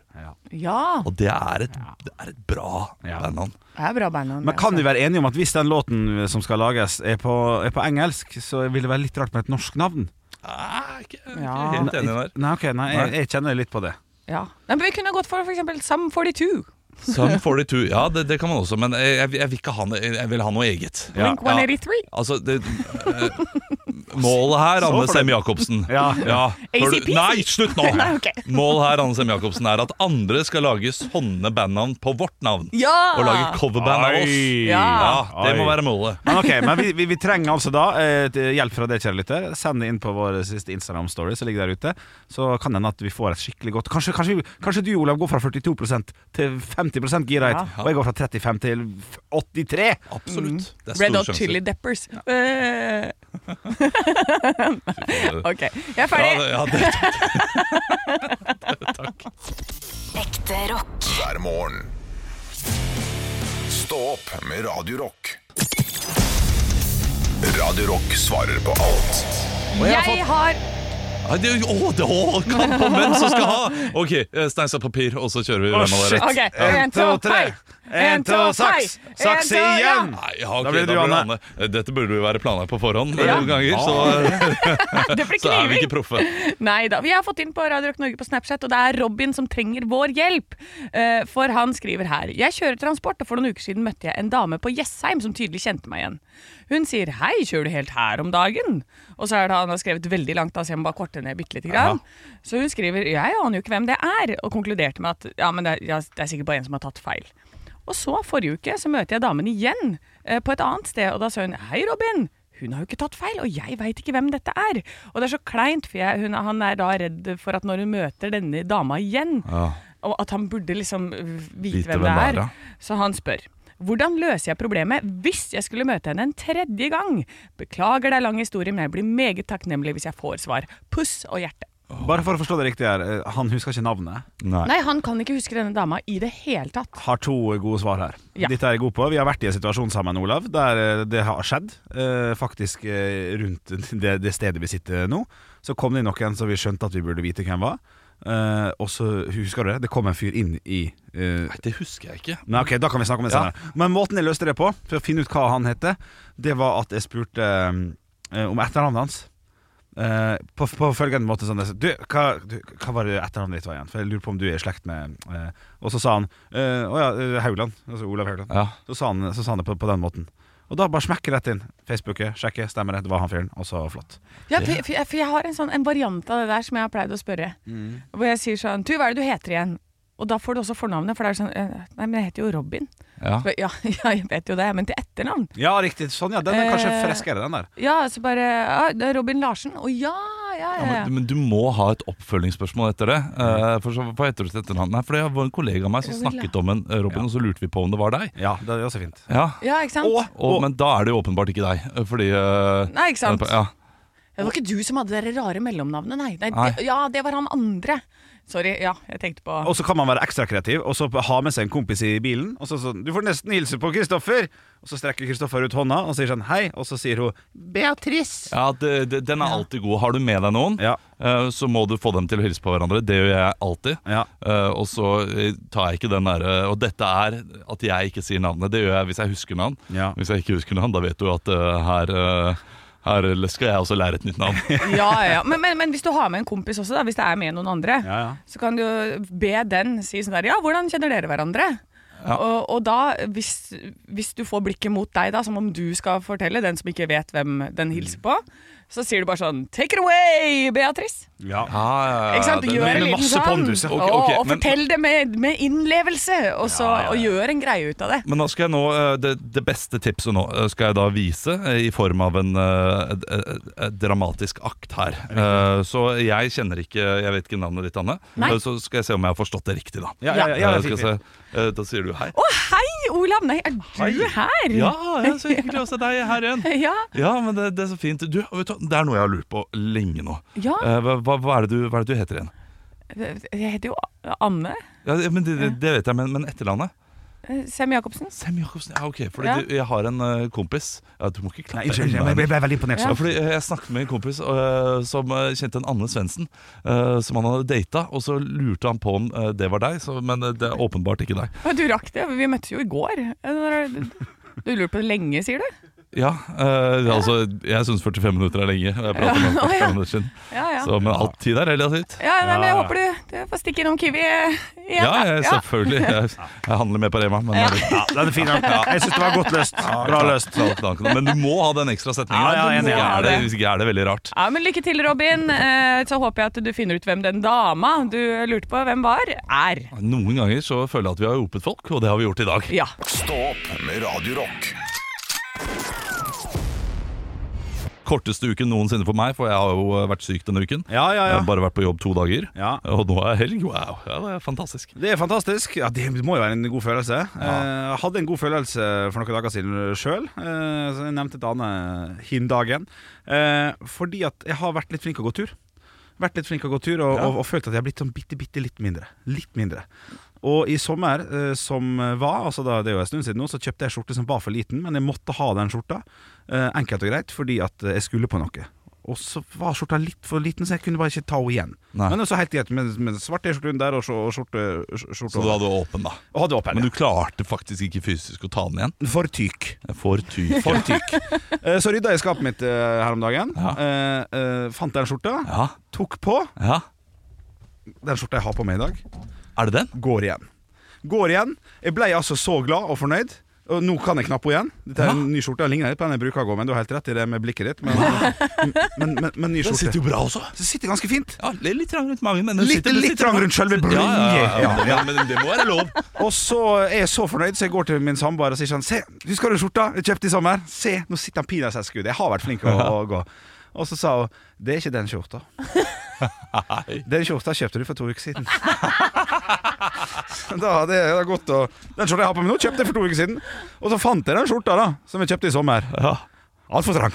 S3: Ja,
S5: Og det er et, det er et bra
S2: Ja.
S5: bandnavn.
S3: det er bra altså. bandnavn.
S2: Men kan vi være enige om at hvis den låten eh, som skal lages, er på, er på engelsk, så vil det være litt rart med et norsk navn?
S5: Nei, Ah, ikke, ikke
S3: Ja.
S5: helt enig der.
S2: Nei, ok, nei, jeg, jeg kjenner litt på det.
S3: Ja. Nei, men vi kunne gått for f.eks. Sam 42.
S5: Sum 42, ja det, det kan man også, men jeg, jeg, jeg, vil, ikke ha, noe- jeg vil ha noe eget.
S2: Ja,
S3: Blink 183.
S5: Altså, det, eh, målet her, Anne
S2: for det.
S5: Sem Jacobsen
S2: Ja.
S5: Hører du-
S3: ACPC.
S5: Nei, slutt nå!
S3: Nei, ok.
S5: Målet her, Anne Sem Jacobsen, er at andre skal lage sånne bandnavn på vårt navn.
S3: Ja!
S5: Og lage coverband av oss.
S3: Ja.
S5: Ja, det må være målet.
S2: Men ok, men vi, vi, vi trenger altså da eh, til hjelp fra deg, kjære lytter. Send det inn på vår siste Instagram-story som ligger der ute. Så kan det hende at vi får et skikkelig godt Kanskje, kanskje, kanskje du, Olav, går fra 42 til 50 gira hit, og jeg går fra 35 til 83.
S5: Absolutt. Mm. Det er
S3: Red
S5: store
S3: Hot Chili
S5: sjanser.
S3: Deppers. Eh, ok, jeg er
S5: Ja,
S3: ferdig.
S5: det, ja, det,
S6: Ekte rock.
S1: hver morgen. Stå opp med Radio Rock. Radio Rock svarer på alt.
S3: jeg har
S5: Ja, det, å, det, å, kamp om hvem som skal ha! Ok, eh, stein, saks, papir, og så kjører vi.
S2: Å,
S5: Hvem av dere?
S2: shit.
S3: Ok, en, to, tre.
S2: En, to, saks. Saks igjen!
S5: Nei, ja, ok,
S2: Da blir det du, Anne.
S5: Dette burde jo være planlagt på forhånd
S3: Ja.
S5: noen ganger, så,
S3: Det blir
S5: så er vi
S3: kniving!
S5: ikke proffe.
S3: Nei da. Vi har fått inn på Radio Rock Norge på Snapchat, og det er Robin som trenger vår hjelp. Eh, For han skriver her Jeg kjører transport, og for noen uker siden møtte jeg en dame på Jessheim som tydelig kjente meg igjen. Hun sier 'hei, kjører du helt her om dagen?' Og så er det han har skrevet veldig langt, da, så jeg må bare korte ned bitte lite grann. Så hun skriver 'jeg aner jo ikke hvem det er', og konkluderte med at ja, men det er, ja, det er sikkert bare en som har tatt feil. Og så, forrige uke, så møter jeg damen igjen eh, på et annet sted, og da sa hun 'hei, Robin'. Hun har jo ikke tatt feil, og jeg veit ikke hvem dette er. Og det er så kleint, for jeg, hun, han er da redd for at når hun møter denne dama igjen, og at han burde liksom vite,
S5: Vite
S3: hvem,
S5: hvem det
S3: det
S5: er,
S3: er.
S5: ja.
S3: Så han spør hvordan løser jeg problemet hvis jeg skulle møte henne en tredje gang? Beklager det er lang historie, men jeg blir meget takknemlig hvis jeg får svar. Puss og hjerte.
S2: Bare for å forstå det riktig her, eh, han husker ikke navnet.
S3: Nei, han kan ikke huske denne dama i det hele tatt.
S2: Har to gode svar her.
S3: Ja.
S2: Dette er jeg god på. Vi har vært i en situasjon sammen, Olav, der eh, det har skjedd. eh, faktisk eh, rundt det, det stedet vi sitter nå. Så kom det inn noen som vi skjønte at vi burde vite hvem var. Eh, og så husker du det? Det kom en fyr inn i eh,
S5: Nei, det husker jeg ikke.
S2: Nei, ok, da kan vi snakke om det senere. Men måten jeg løste det på, for å finne ut hva han heter, det var at jeg spurte eh, om etternavnet hans. eh, på, på følgende måte sånn du, hva, du, hva var det etternavnet ditt var igjen? For jeg lurer på om du er i slekt med eh, Og så sa han eh, Å ja, eh, Haugland. Altså Olav Haugland.
S5: Ja.
S2: Så sa han, så sa han det på, på den måten. Og da bare smekker rett inn. Facebooket, sjekke, stemmer det. Det var han fyren. Og så flott.
S3: Ja, for, for, jeg, for jeg har en sånn en variant av det der som jeg har pleid å spørre.
S5: Mm.
S3: Hvor jeg sier sånn Du, hva er det du heter igjen? Og da får du også fornavnet, for det er sånn eh, Nei, men jeg heter jo Robin.
S5: Ja.
S3: Så, ja, ja, jeg vet jo det, men til etternavn.
S2: Ja, riktig. Sånn, ja. Den er kanskje
S3: Eh,
S2: freskere, den der.
S3: Ja, så bare ja, det er Robin Larsen. Å ja, ja,
S5: Ja,
S3: ja. ja.
S5: men, men du må ha et oppfølgingsspørsmål etter det. eh, for så, Hva heter du til etternavn? Nei, for det var en kollega av meg som
S3: Robin Lahl.
S5: snakket om en eh, Robin, og så lurte vi på om det var deg.
S2: Ja, det er også fint.
S5: Ja,
S3: Ja, ikke sant?
S5: og, Men da er det jo åpenbart ikke deg, eh, fordi eh,
S3: Nei, ikke sant?
S5: Ja.
S3: Det var ikke du som hadde det rare mellomnavnet, nei. nei,
S5: Nei.
S3: Det, ja, det var han andre. Sorry, ja, jeg tenkte på
S2: Og så kan man være ekstra kreativ og så ha med seg en kompis i bilen. Og så sånn 'Du får nesten hilse på Kristoffer!' Og så strekker Kristoffer ut hånda og sier sånn 'Hei', og så sier hun 'Beatrice'.
S5: Ja, det, det, Den er alltid god. Har du med deg noen,
S2: Ja.
S5: eh, så må du få dem til å hilse på hverandre. Det gjør jeg alltid.
S2: Ja.
S5: Eh, og så eh, tar jeg ikke den derre Og dette er at jeg ikke sier navnet. Det gjør jeg hvis jeg husker navn.
S2: Ja.
S5: Hvis jeg ikke husker navn, da vet du at eh, her, eh, her skal jeg også lære et nytt navn.
S3: Ja, ja. Men, men, men hvis du har med en kompis også, da, hvis det er med noen andre,
S2: Ja, ja.
S3: så kan du jo be den si sånn der Ja, hvordan kjenner dere hverandre? Og, og da, hvis, hvis du får blikket mot deg, da, som om du skal fortelle den som ikke vet hvem den hilser på, så sier du bare sånn Take it away, Beatrice!
S2: Ja.
S3: Ikke sant? Gjør en
S2: med
S3: liten
S2: masse
S3: sånn.
S2: pondus, ja.
S3: Og,
S5: Ok, ok,
S3: og
S5: men-
S3: fortell det med, med innlevelse, og, så, og gjør en greie ut av det.
S5: Men da skal jeg nå, eh, det, det beste tipset nå eh, skal jeg da vise eh, i form av en eh, et- et- et dramatisk akt her. Eh, Så jeg kjenner ikke Jeg vet ikke navnet ditt, Anne.
S3: Nei.
S5: Eh, Så skal jeg se om jeg har forstått det riktig, da.
S2: Ja, ja, ja, ja,
S5: Eh, skal
S2: fint,
S5: jeg se. Eh, Da sier du hei.
S3: Å, hei, Olav! Nei, er du her?
S5: Ja, ja, så hyggelig å se deg her igjen.
S3: Ja.
S5: Ja, men det, det er så fint. Du, vet du, hva, det er noe jeg har lurt på lenge nå.
S3: Ja.
S5: Eh, Hva, hva, hva, er det du, hva er det du heter igjen?
S3: Jeg heter jo Anne
S5: Ja, men det, det- det vet jeg, men, men etternavnet?
S3: Sem-Jacobsen.
S5: Sem-Jacobsen. Ja, ok, for
S3: Ja.
S5: jeg har en eh, kompis ja, Du må ikke
S2: Nei,
S5: klappe.
S2: unnskyld,
S5: unna
S2: jeg ble,
S5: henne.
S2: ble, ble veldig imponert.
S5: Ja,
S2: så.
S5: fordi eh, Jeg snakket med en kompis eh, som eh, kjente en Anne Svendsen, eh, som han hadde data. Og så lurte han på om eh, det var deg, så, men eh, det er åpenbart ikke deg.
S3: Å, Du rakk det, vi møttes jo i går. Eh, Du lurer på det lenge, sier du?
S5: Ja, eh, altså, Jeg syns 45 minutter er lenge. og Jeg pratet med han for
S3: Å, ja.
S5: 45 minutter siden.
S3: Ja, ja.
S5: Så, men alt tid er relativt.
S3: ja nei, men jeg
S2: Ja, ja.
S3: håper du, du får stikke innom Kiwi eh, igjen.
S5: Ja,
S3: da.
S5: jeg,
S3: Ja.
S5: selvfølgelig. Jeg, jeg handler med på Rema. Men,
S2: Ja, den er fin. den. Jeg syns det var godt løst. Bra løst.
S5: men du må ha den ekstra setningen.
S2: Ja, ja, jeg er
S5: Hvis ikke
S2: enig.
S5: er det- hvis ikke er det veldig rart.
S3: Ja, men Lykke til, Robin. Eh, Så håper jeg at du finner ut hvem den dama du lurte på hvem var, er.
S5: Noen ganger så føler jeg at vi har hjulpet folk, og det har vi gjort i dag.
S3: Ja.
S1: Stå opp med Radio Rock.
S5: Korteste uken noensinne for meg, for jeg har jo eh, vært syk denne uken.
S2: Ja, ja,
S5: Jeg
S2: ja.
S5: har bare vært på jobb to dager,
S2: Ja.
S5: og nå er helg. Wow, ja, det er fantastisk.
S2: Det er fantastisk. Ja, Det må jo være en god følelse. Eh, Jeg hadde en god følelse for noen dager siden sjøl. Jeg nevnte et annet hin-dagen. Eh, Fordi at jeg har vært litt flink til å gå tur. Vært litt flink til å gå tur og, og, og følt at jeg har blitt sånn bitte, bitte litt mindre. Litt mindre. Og i sommer eh, som var, altså da, det er jo en stund siden nå, så kjøpte jeg skjorte som var for liten, men jeg måtte ha den skjorta. eh, Enkelt og greit, fordi at eh, jeg skulle på noe. Og så var skjorta litt for liten, så jeg kunne bare ikke ta henne igjen.
S5: Nei.
S2: Men også helt greit med, med svart T-skjorte under der og skjor- og skjorte, skjorte
S5: Så du hadde åpen, da.
S2: og hadde åpen.
S5: Men du klarte faktisk ikke fysisk å ta den igjen.
S2: ja. For tyk.
S5: For ty.
S2: For tyk. Eh, så rydda jeg i skapet mitt eh, her om dagen.
S5: Ja.
S2: Eh, eh, fant den skjorta.
S5: Ja,
S2: Tok på.
S5: ja.
S2: Den skjorta jeg har på meg i dag,
S5: Er det den?
S2: går igjen. Går igjen. Jeg ble altså så glad og fornøyd. Og nå kan jeg knappe henne igjen. Dette er en ny skjorte. Den ligner litt på den jeg bruker å gå med. Du har helt rett i det med blikket ditt, men, men, men, men ny
S5: Den
S2: skjorte.
S5: sitter jo bra også.
S2: Så sitter ganske fint.
S5: Ja, li- Litt trang rundt magen, men den
S2: Litt,
S5: sitter den
S2: litt
S5: sitter
S2: trang
S5: bra.
S2: rundt selve
S5: Ja, ja, ja,
S2: blinje.
S5: ja, men det må være lov.
S2: Og så er jeg så fornøyd, så jeg går til min samboer og sier sånn Se, husker du skjorta jeg kjøpte i sommer? Se, nå sitter han pinadø seg skudd. Jeg har vært flink til å, å gå. Og så sa hun Det er ikke den skjorta. Den skjorta kjøpte du for to uker siden. da hadde jeg da gått og Den skjorta jeg har på meg nå, kjøpte jeg for to uker siden. Og så fant jeg den skjorta da som jeg kjøpte i sommer.
S5: Ja.
S2: Altfor trang.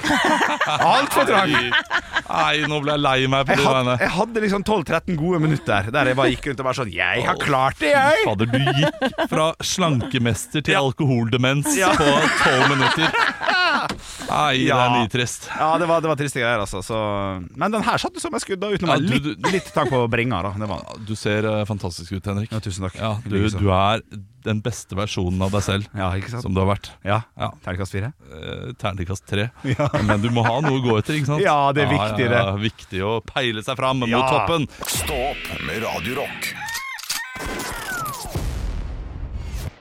S2: Altfor trang.
S5: Nei, nå ble jeg lei meg på
S2: Jeg
S5: de
S2: hadde,
S5: veiene.
S2: jeg hadde liksom 12-13 gode minutter der jeg bare gikk rundt og bare sånn Jeg har klart det, jeg!
S5: Fader, du gikk fra slankemester til alkoholdemens på tolv minutter. Ai, det er
S2: Ja.
S5: nitrist.
S2: Ja, det var, det var triste greier, altså. Så, men den her satt du som et skudd, da, utenom
S5: Ja,
S2: en
S5: du-
S2: litt, litt tank på bringa. da det var,
S5: Du ser eh, fantastisk ut, Henrik.
S2: ja, Tusen takk.
S5: Ja, liksom. du,
S2: Likeså.
S5: du er den beste versjonen av deg selv
S2: ja, ikke sant?
S5: som du har vært.
S2: Ja.
S5: Ja.
S2: Terningkast fire?
S5: Eh, Terningkast tre. Men du må ha noe å gå etter, ikke sant?
S2: Ja, det er viktig, det.
S5: ja, Viktig å peile seg fram
S2: Ja.
S5: mot toppen.
S1: Stå opp med Radio Rock.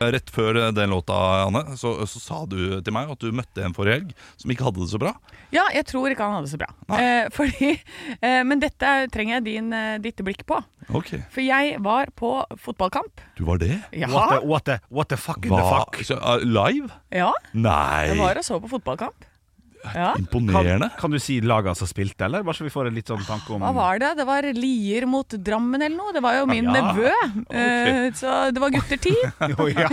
S5: Rett før eh, den låta, Anne, så, så sa du til meg at du møtte en forrige helg som ikke hadde det så bra.
S3: Ja, jeg tror ikke han hadde det så bra. Eh, fordi, eh, men dette er- trenger jeg din, eh, ditt blikk på.
S5: Ok,
S3: For jeg var på fotballkamp.
S5: Du var det?
S2: What
S3: Ja,
S2: the, what, the, what the fuck in the
S5: Hva?
S2: fuck?
S5: Så, eh, live?
S3: ja jeg
S5: Nei!
S3: var og så på fotballkamp. Ja.
S5: Imponerende.
S2: Kan du si laga som spilte, eller? Bare så vi får en litt sånn tanke om
S5: Mm.
S3: Hva var det? Det var Lier mot Drammen eller noe. Det var jo min
S2: Ja.
S3: nevø. Eh, Så det var gutter ti.
S2: Jo, ja.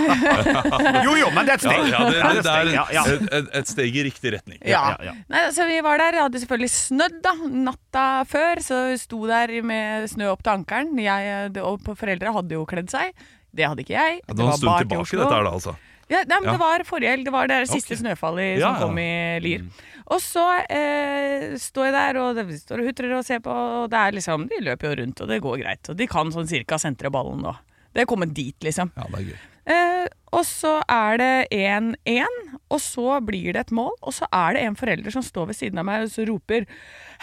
S2: jo, jo, men det er et
S5: Ja,
S2: steg.
S5: ja, det, det, det er
S2: ja, ja.
S5: et, et, et steg i riktig retning.
S3: Ja.
S2: ja, ja.
S3: Nei, så vi var der, hadde selvfølgelig snødd da, natta før, så vi sto der med snø opp til ankelen. Jeg det- og foreldre hadde jo kledd seg. Det hadde ikke jeg.
S5: Ja, det var en stund
S3: bart i
S5: tilbake,
S3: Oslo.
S5: dette her, da, altså.
S3: Ja, nei, men
S5: Ja.
S3: Det var forrige helg. Det var det siste
S5: Ok.
S3: snøfallet
S5: Ja, Mm. ja.
S3: som kom i Lier. Og så eh, står jeg der og det står og hutrer og ser på, og det er liksom, de løper jo rundt, og det går greit. Og de kan sånn cirka sentre ballen nå. Det er kommet dit, liksom.
S5: Ja, det er gøy.
S3: Eh, og så er det 1-1, og så blir det et mål. Og så er det en forelder som står ved siden av meg og så roper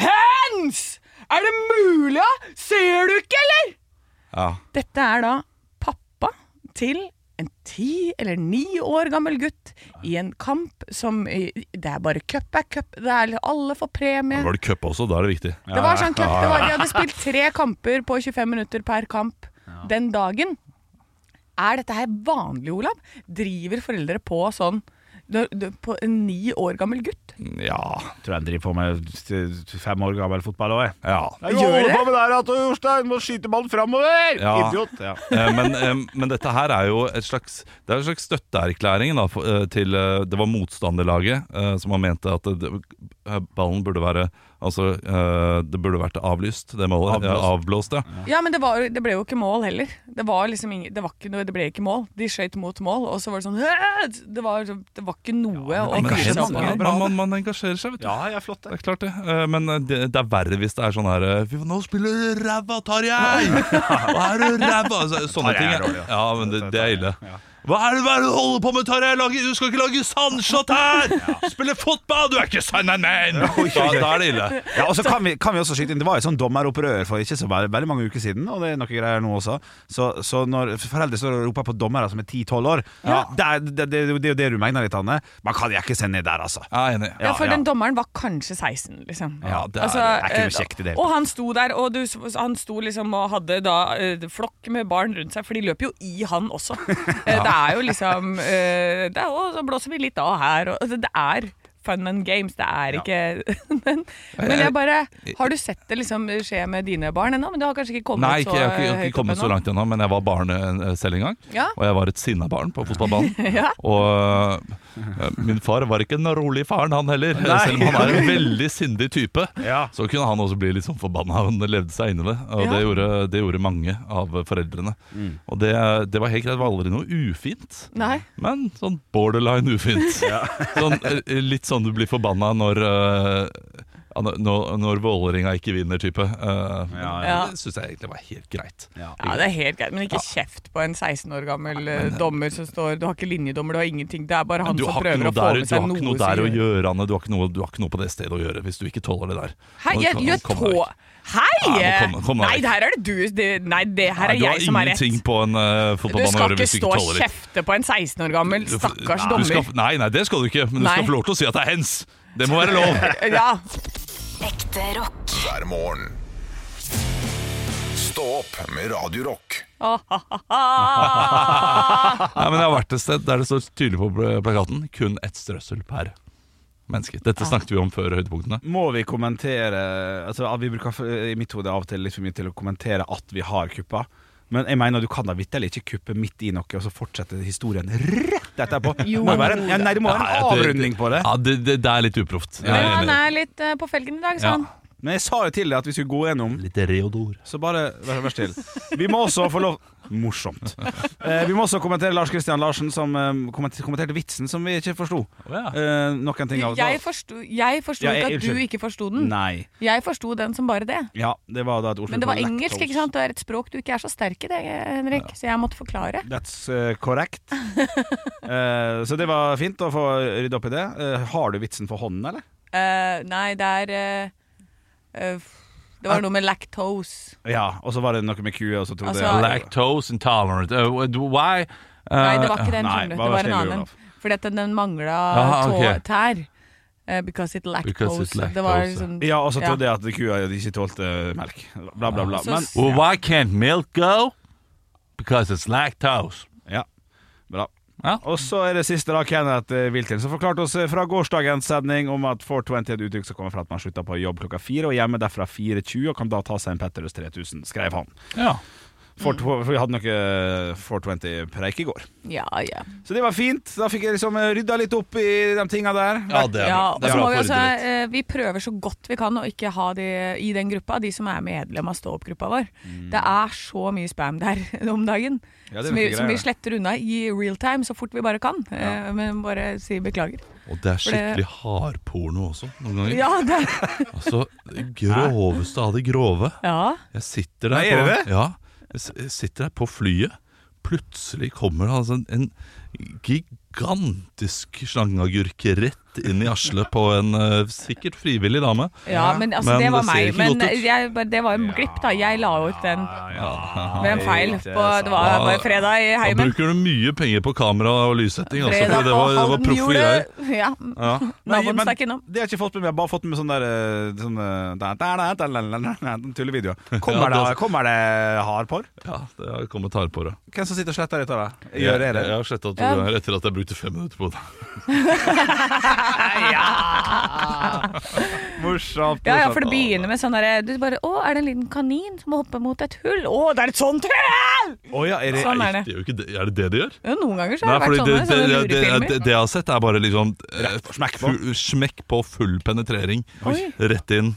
S3: Hands! Er det mulig, da? Ser du ikke, eller?
S5: Ja.
S3: Dette er da pappa til en ti eller ni år gammel gutt i en kamp som eh, Det er bare cup er cup, det er alle får premie.
S5: Var det cup også? Da er det viktig.
S3: Det var sånn cup. Det var, de hadde spilt tre kamper på 25 minutter per kamp den dagen. Er dette her vanlig, Olav? Driver foreldre på sånn når- du- på en ni år gammel gutt?
S5: Ja.
S2: Tror jeg driver på med fem år gammel fotball òg, jeg.
S5: ja.
S2: Jeg
S3: Gjør
S2: holder
S3: det?
S2: på med det her at Jostein må skyte ballen framover!
S5: Ja.
S2: Idiot. Ja.
S5: Eh, men, eh, men dette her er jo et slags Det er en slags støtteerklæring da, for, eh, til eh, Det var motstanderlaget eh, som man mente at det, eh, ballen burde være Altså, eh, det burde vært avlyst, det målet. Avblåst, ja. Avblåst, ja.
S3: Ja, men det, var, det ble jo ikke mål heller. Det var liksom ingen, det, var ikke noe, det ble ikke mål. De skøyt mot mål, og så var det sånn «Hæ!» Det var, det var ikke noe å
S5: Men,
S2: det er
S3: fyre
S2: helt
S3: seg opp
S2: mange.
S3: over.
S5: man, man, man engasjerer seg, vet du.
S2: ja, jeg er flott,
S5: Det
S2: jeg.
S5: er klart det, Eh, men det, det er verre hvis det er sånn her eh, Fy faen, nå spiller du ræva, Tarjei! Hva er det ræva? Så, sånne
S2: Tarjei
S5: ting.
S2: er
S5: ja.
S2: dårlig,
S5: Ja, men det, det er ille.
S2: Ja.
S5: Hva er det, hva er det du holder på med, Tarjei? Lage- Du skal ikke lage sandslott her! Spille fotball! Du er ikke sann en man! Da, da er det ille.
S2: Ja, og så kan vi, kan vi også skyte inn Det var jo sånn dommeropprør for ikke så veldig, veldig mange uker siden, og det er noen greier nå også. Så, så når foreldre står og roper på dommere som er 10-12 år, det, er, det, det, det er jo det du mener litt, Anne. Man kan jeg ikke sende ned der, altså.
S5: Jeg er enig.
S3: Ja,
S2: Ja,
S3: for
S2: ja.
S3: den dommeren var kanskje 16, liksom. eh,
S5: Ja, det er-
S2: det er ikke noe kjekt i det hele
S3: Og han sto der, og du, han sto liksom og hadde da eh, flokk med barn rundt seg, for de løper jo i han også. Eh, Det er jo liksom eh, det er, jo- Så blåser vi litt av her, og altså, det er fun and games. Det er ikke men, men jeg bare Har du sett det liksom skje med dine barn ennå? Men du har kanskje ikke kommet
S5: Nei, ikke,
S3: så
S5: jeg har ikke, jeg har
S3: høyt
S5: ikke kommet
S3: opp
S5: så
S3: ennå?
S5: langt ennå, men jeg var barn eh, selv en gang.
S3: Ja.
S5: Og jeg var et sinna barn på fotballbanen. Og eh, min far var ikke den rolige faren, han heller.
S2: Nei.
S5: Selv om han er en veldig sindig type,
S2: Ja.
S5: så kunne han også bli litt sånn forbanna. Han levde seg inn i det, og
S3: Ja.
S5: det, gjorde, det gjorde mange av foreldrene.
S2: Mm.
S5: Og det, det var helt greit, det var aldri noe ufint.
S3: Nei.
S5: Men sånn borderline ufint. sånn, eh, litt sånn du blir forbanna når eh, ja, når, når Vålerenga ikke vinner, type. Eh,
S2: Ja,
S3: ja.
S5: Det syns jeg egentlig var helt greit.
S3: Ja, det er helt greit, men ikke kjeft på en 16 år gammel eh, dommer som står Du har ikke linjedommer, du har ingenting. Det er bare han
S5: Du
S3: som
S5: har ikke
S3: prøver
S5: noe
S3: å få
S5: der,
S3: med
S5: du
S3: seg
S5: har
S3: noe.
S5: ikke noe der å gjøre, Anne. Du har ikke noe, du har ikke noe på det stedet å gjøre hvis du ikke tåler det der.
S3: Hei,
S5: Nå
S3: jeg,
S5: kan-
S3: jeg
S5: kom
S3: tå...
S5: deg vekk.
S3: Hei!
S5: Ja, men kom- kom deg
S3: nei,
S5: vekk.
S3: det her er det du det, Nei, det her
S5: Nei,
S3: er
S5: du har
S3: jeg som er rett.
S5: ingenting på en uh,
S3: Du
S5: fotballbane å
S3: skal
S5: gjøre
S3: ikke
S5: hvis du
S3: stå
S5: ikke
S3: og
S5: tåler det.
S3: kjefte på en 16 år gammel
S5: Du-
S3: stakkars
S5: Nei, du
S3: dommer.
S5: skal, nei, nei, det skal du ikke. Men du
S3: Nei.
S5: skal få lov til å si at det er hens. Det må være lov.
S3: Ja.
S6: Ekte rock.
S1: hver morgen. Stå opp med Radio Rock.
S5: Nei, men Jeg har vært et sted der det står tydelig på pl- plakaten kun ett strøssel per menneske. Dette snakket vi om før høydepunktene.
S2: Må vi kommentere altså, at Vi bruker for- i mitt hode av og til litt for mye til å kommentere at vi har kuppa. Men jeg mener du kan da vitterlig ikke kuppe midt i noe, og så fortsette historien rett etterpå. Det Må jo være en, ja, nei, det må være en
S5: Nei, det-
S2: avrunding på det.
S5: Ja, Det, det, det er litt uproft. Jeg er
S3: Men
S5: enig.
S3: han er litt eh, på felgen i dag, sa
S5: Ja.
S3: han.
S2: Men jeg sa jo til deg at vi skulle gå gjennom
S5: Litt reodor.
S2: Så bare vær, vær still. Vi må også få lov Morsomt. Eh, vi må også kommentere Lars Kristian Larsen, som eh, kommenter- kommenterte vitsen som vi ikke forsto. Eh, noen ting av
S3: Jeg forsto jeg forsto
S2: Ja, jeg-
S3: ikke at du
S2: unnskyld.
S3: ikke forsto den.
S2: Nei.
S3: Jeg forsto den som bare det.
S2: Ja, det var da et ordspill
S3: Men det
S2: på
S3: var engelsk,
S2: lactose.
S3: ikke sant? Det er et språk du ikke er så sterk i, det, Henrik. Så jeg måtte forklare.
S2: That's eh, correct. Eh, så det var fint å få rydde opp i det. Eh, har du vitsen for hånden, eller?
S3: Eh, nei, det er eh, eh, Det var noe med lactose.
S2: Ja, og så var det noe med kue, og så trodde
S3: Altså,
S2: jeg
S5: Lactose intolerant. Uh, why? Uh,
S3: Nei, det var ikke den,
S2: nei,
S3: skjønner du.
S2: vær
S3: Det var en
S2: snill,
S3: annen.
S2: Olav.
S3: Fordi at den, den mangla
S5: Ah,
S3: tå
S5: ok.
S3: tær. Eh, because it lactose.
S5: Because it
S3: Det var
S5: lactose,
S3: liksom
S2: Ja, og så trodde jeg at kua ikke tålte melk. Bla, bla, bla.
S3: Så-
S2: Men
S5: Well, why can't milk go? Because it's lactose.
S2: Ja, bra.
S5: Ja.
S2: Og så er det siste da, Kenneth eh, Wiltin, som forklarte oss eh, fra gårsdagens sending om at 420 er et uttrykk som kommer fra at man slutter på jobb klokka fire, og hjemme derfra 4.20, og kan da ta seg en Petterøes 3000, skrev han.
S5: Ja.
S2: 420
S3: Mm.
S2: For vi hadde eh, noe 420-preik i går.
S3: Ja, ja.
S2: Så det var fint. Da fikk jeg liksom eh, rydda litt opp i de tinga der.
S5: det
S3: ja
S5: bra.
S3: og
S5: Det er
S3: så
S5: bra
S3: må vi,
S5: for
S3: også,
S5: idrett.
S3: eh, vi prøver så godt vi kan å ikke ha de i den gruppa, de som er medlem av stå-opp-gruppa vår. Det er så mye spam der om dagen,
S2: Ja, det er
S3: som, vi,
S2: noe
S3: som vi
S2: greier.
S3: sletter unna i real time så fort vi bare kan. Eh, men bare si beklager.
S5: Og det er
S3: For det-
S5: skikkelig hardporno også, noen ganger.
S3: Ja, det
S5: Altså, det groveste av det grove.
S3: ja.
S5: Jeg sitter der,
S2: Nei, er det
S5: på, ja, jeg s- jeg sitter der på flyet. Plutselig kommer det altså en, en gigantisk slangeagurk rett inn i Asle på en eh, sikkert frivillig dame.
S3: Ja, men altså,
S5: Men
S3: det var
S5: det ser
S3: meg.
S5: ikke
S3: Men eh,
S5: godt ut.
S3: jeg, bare- det var en glipp, da. Jeg la ut den
S5: Ja.
S3: ved en feil.
S2: det er
S3: På, det var
S5: sant.
S3: bare fredag i
S5: Da
S3: heimen.
S5: bruker du mye penger på kamera og lyssetting. Altså,
S3: Fredag
S5: for det
S3: på
S5: var, det var
S3: halv
S5: proffe greier.
S3: Ja.
S5: Ja.
S3: Naboen stakk innom.
S2: det har jeg ikke fått med meg. Jeg har bare fått med meg sånn der eh, sånn, eh, da, da, da, da, da, da, da, tullevideo. Kommer,
S5: Ja,
S2: det- kommer det hardpor?
S5: ja, det har kommet hard på det.
S2: Hvem som sitter og sletter ut av det? Gjør dere det?
S5: Jeg, jeg har sletta to
S3: Ja.
S5: ganger etter at jeg brukte fem minutter på det.
S2: Morsomt.
S3: Ja, ja, for det begynner med sånn derre Du bare Å, er det en liten kanin som hopper mot et hull? Å, det er et sånt hull!
S2: Å ja, er det
S3: Sånn er det.
S5: Det er, jo ikke det. er det det de gjør?
S3: Jo, noen ganger så
S5: Nei,
S3: har det
S5: fordi
S3: vært
S5: det, det,
S3: sånne, sånne
S5: det, det, det,
S3: lurefilmer.
S5: jeg har sett, er bare liksom eh,
S2: smekk på.
S5: fu- Smekk på full penetrering.
S3: Oi.
S5: Rett inn.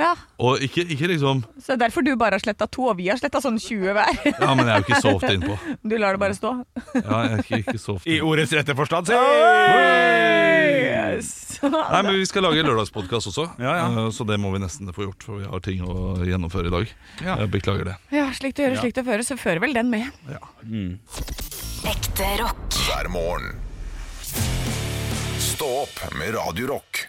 S3: Ja,
S5: Og ikke, ikke liksom
S3: så derfor du bare har sletta to, og vi har sletta sånn 20 hver.
S5: Ja, men jeg er jo ikke så ofte innpå.
S3: Du lar det bare stå.
S5: Ja, jeg er ikke, ikke så ofte
S2: I
S5: innpå.
S2: ordets rette forstand, si!
S3: Yes.
S5: Nei, men Vi skal lage lørdagspodkast også,
S2: Ja, ja.
S5: eh, så det må vi nesten få gjort. For vi har ting å gjennomføre i dag.
S2: Ja.
S5: Jeg beklager det.
S3: Ja, slikt å gjøre, slikt å føre, så fører vel den med.
S6: Ekte rock.
S1: hver morgen. Stå opp med Radio Rock.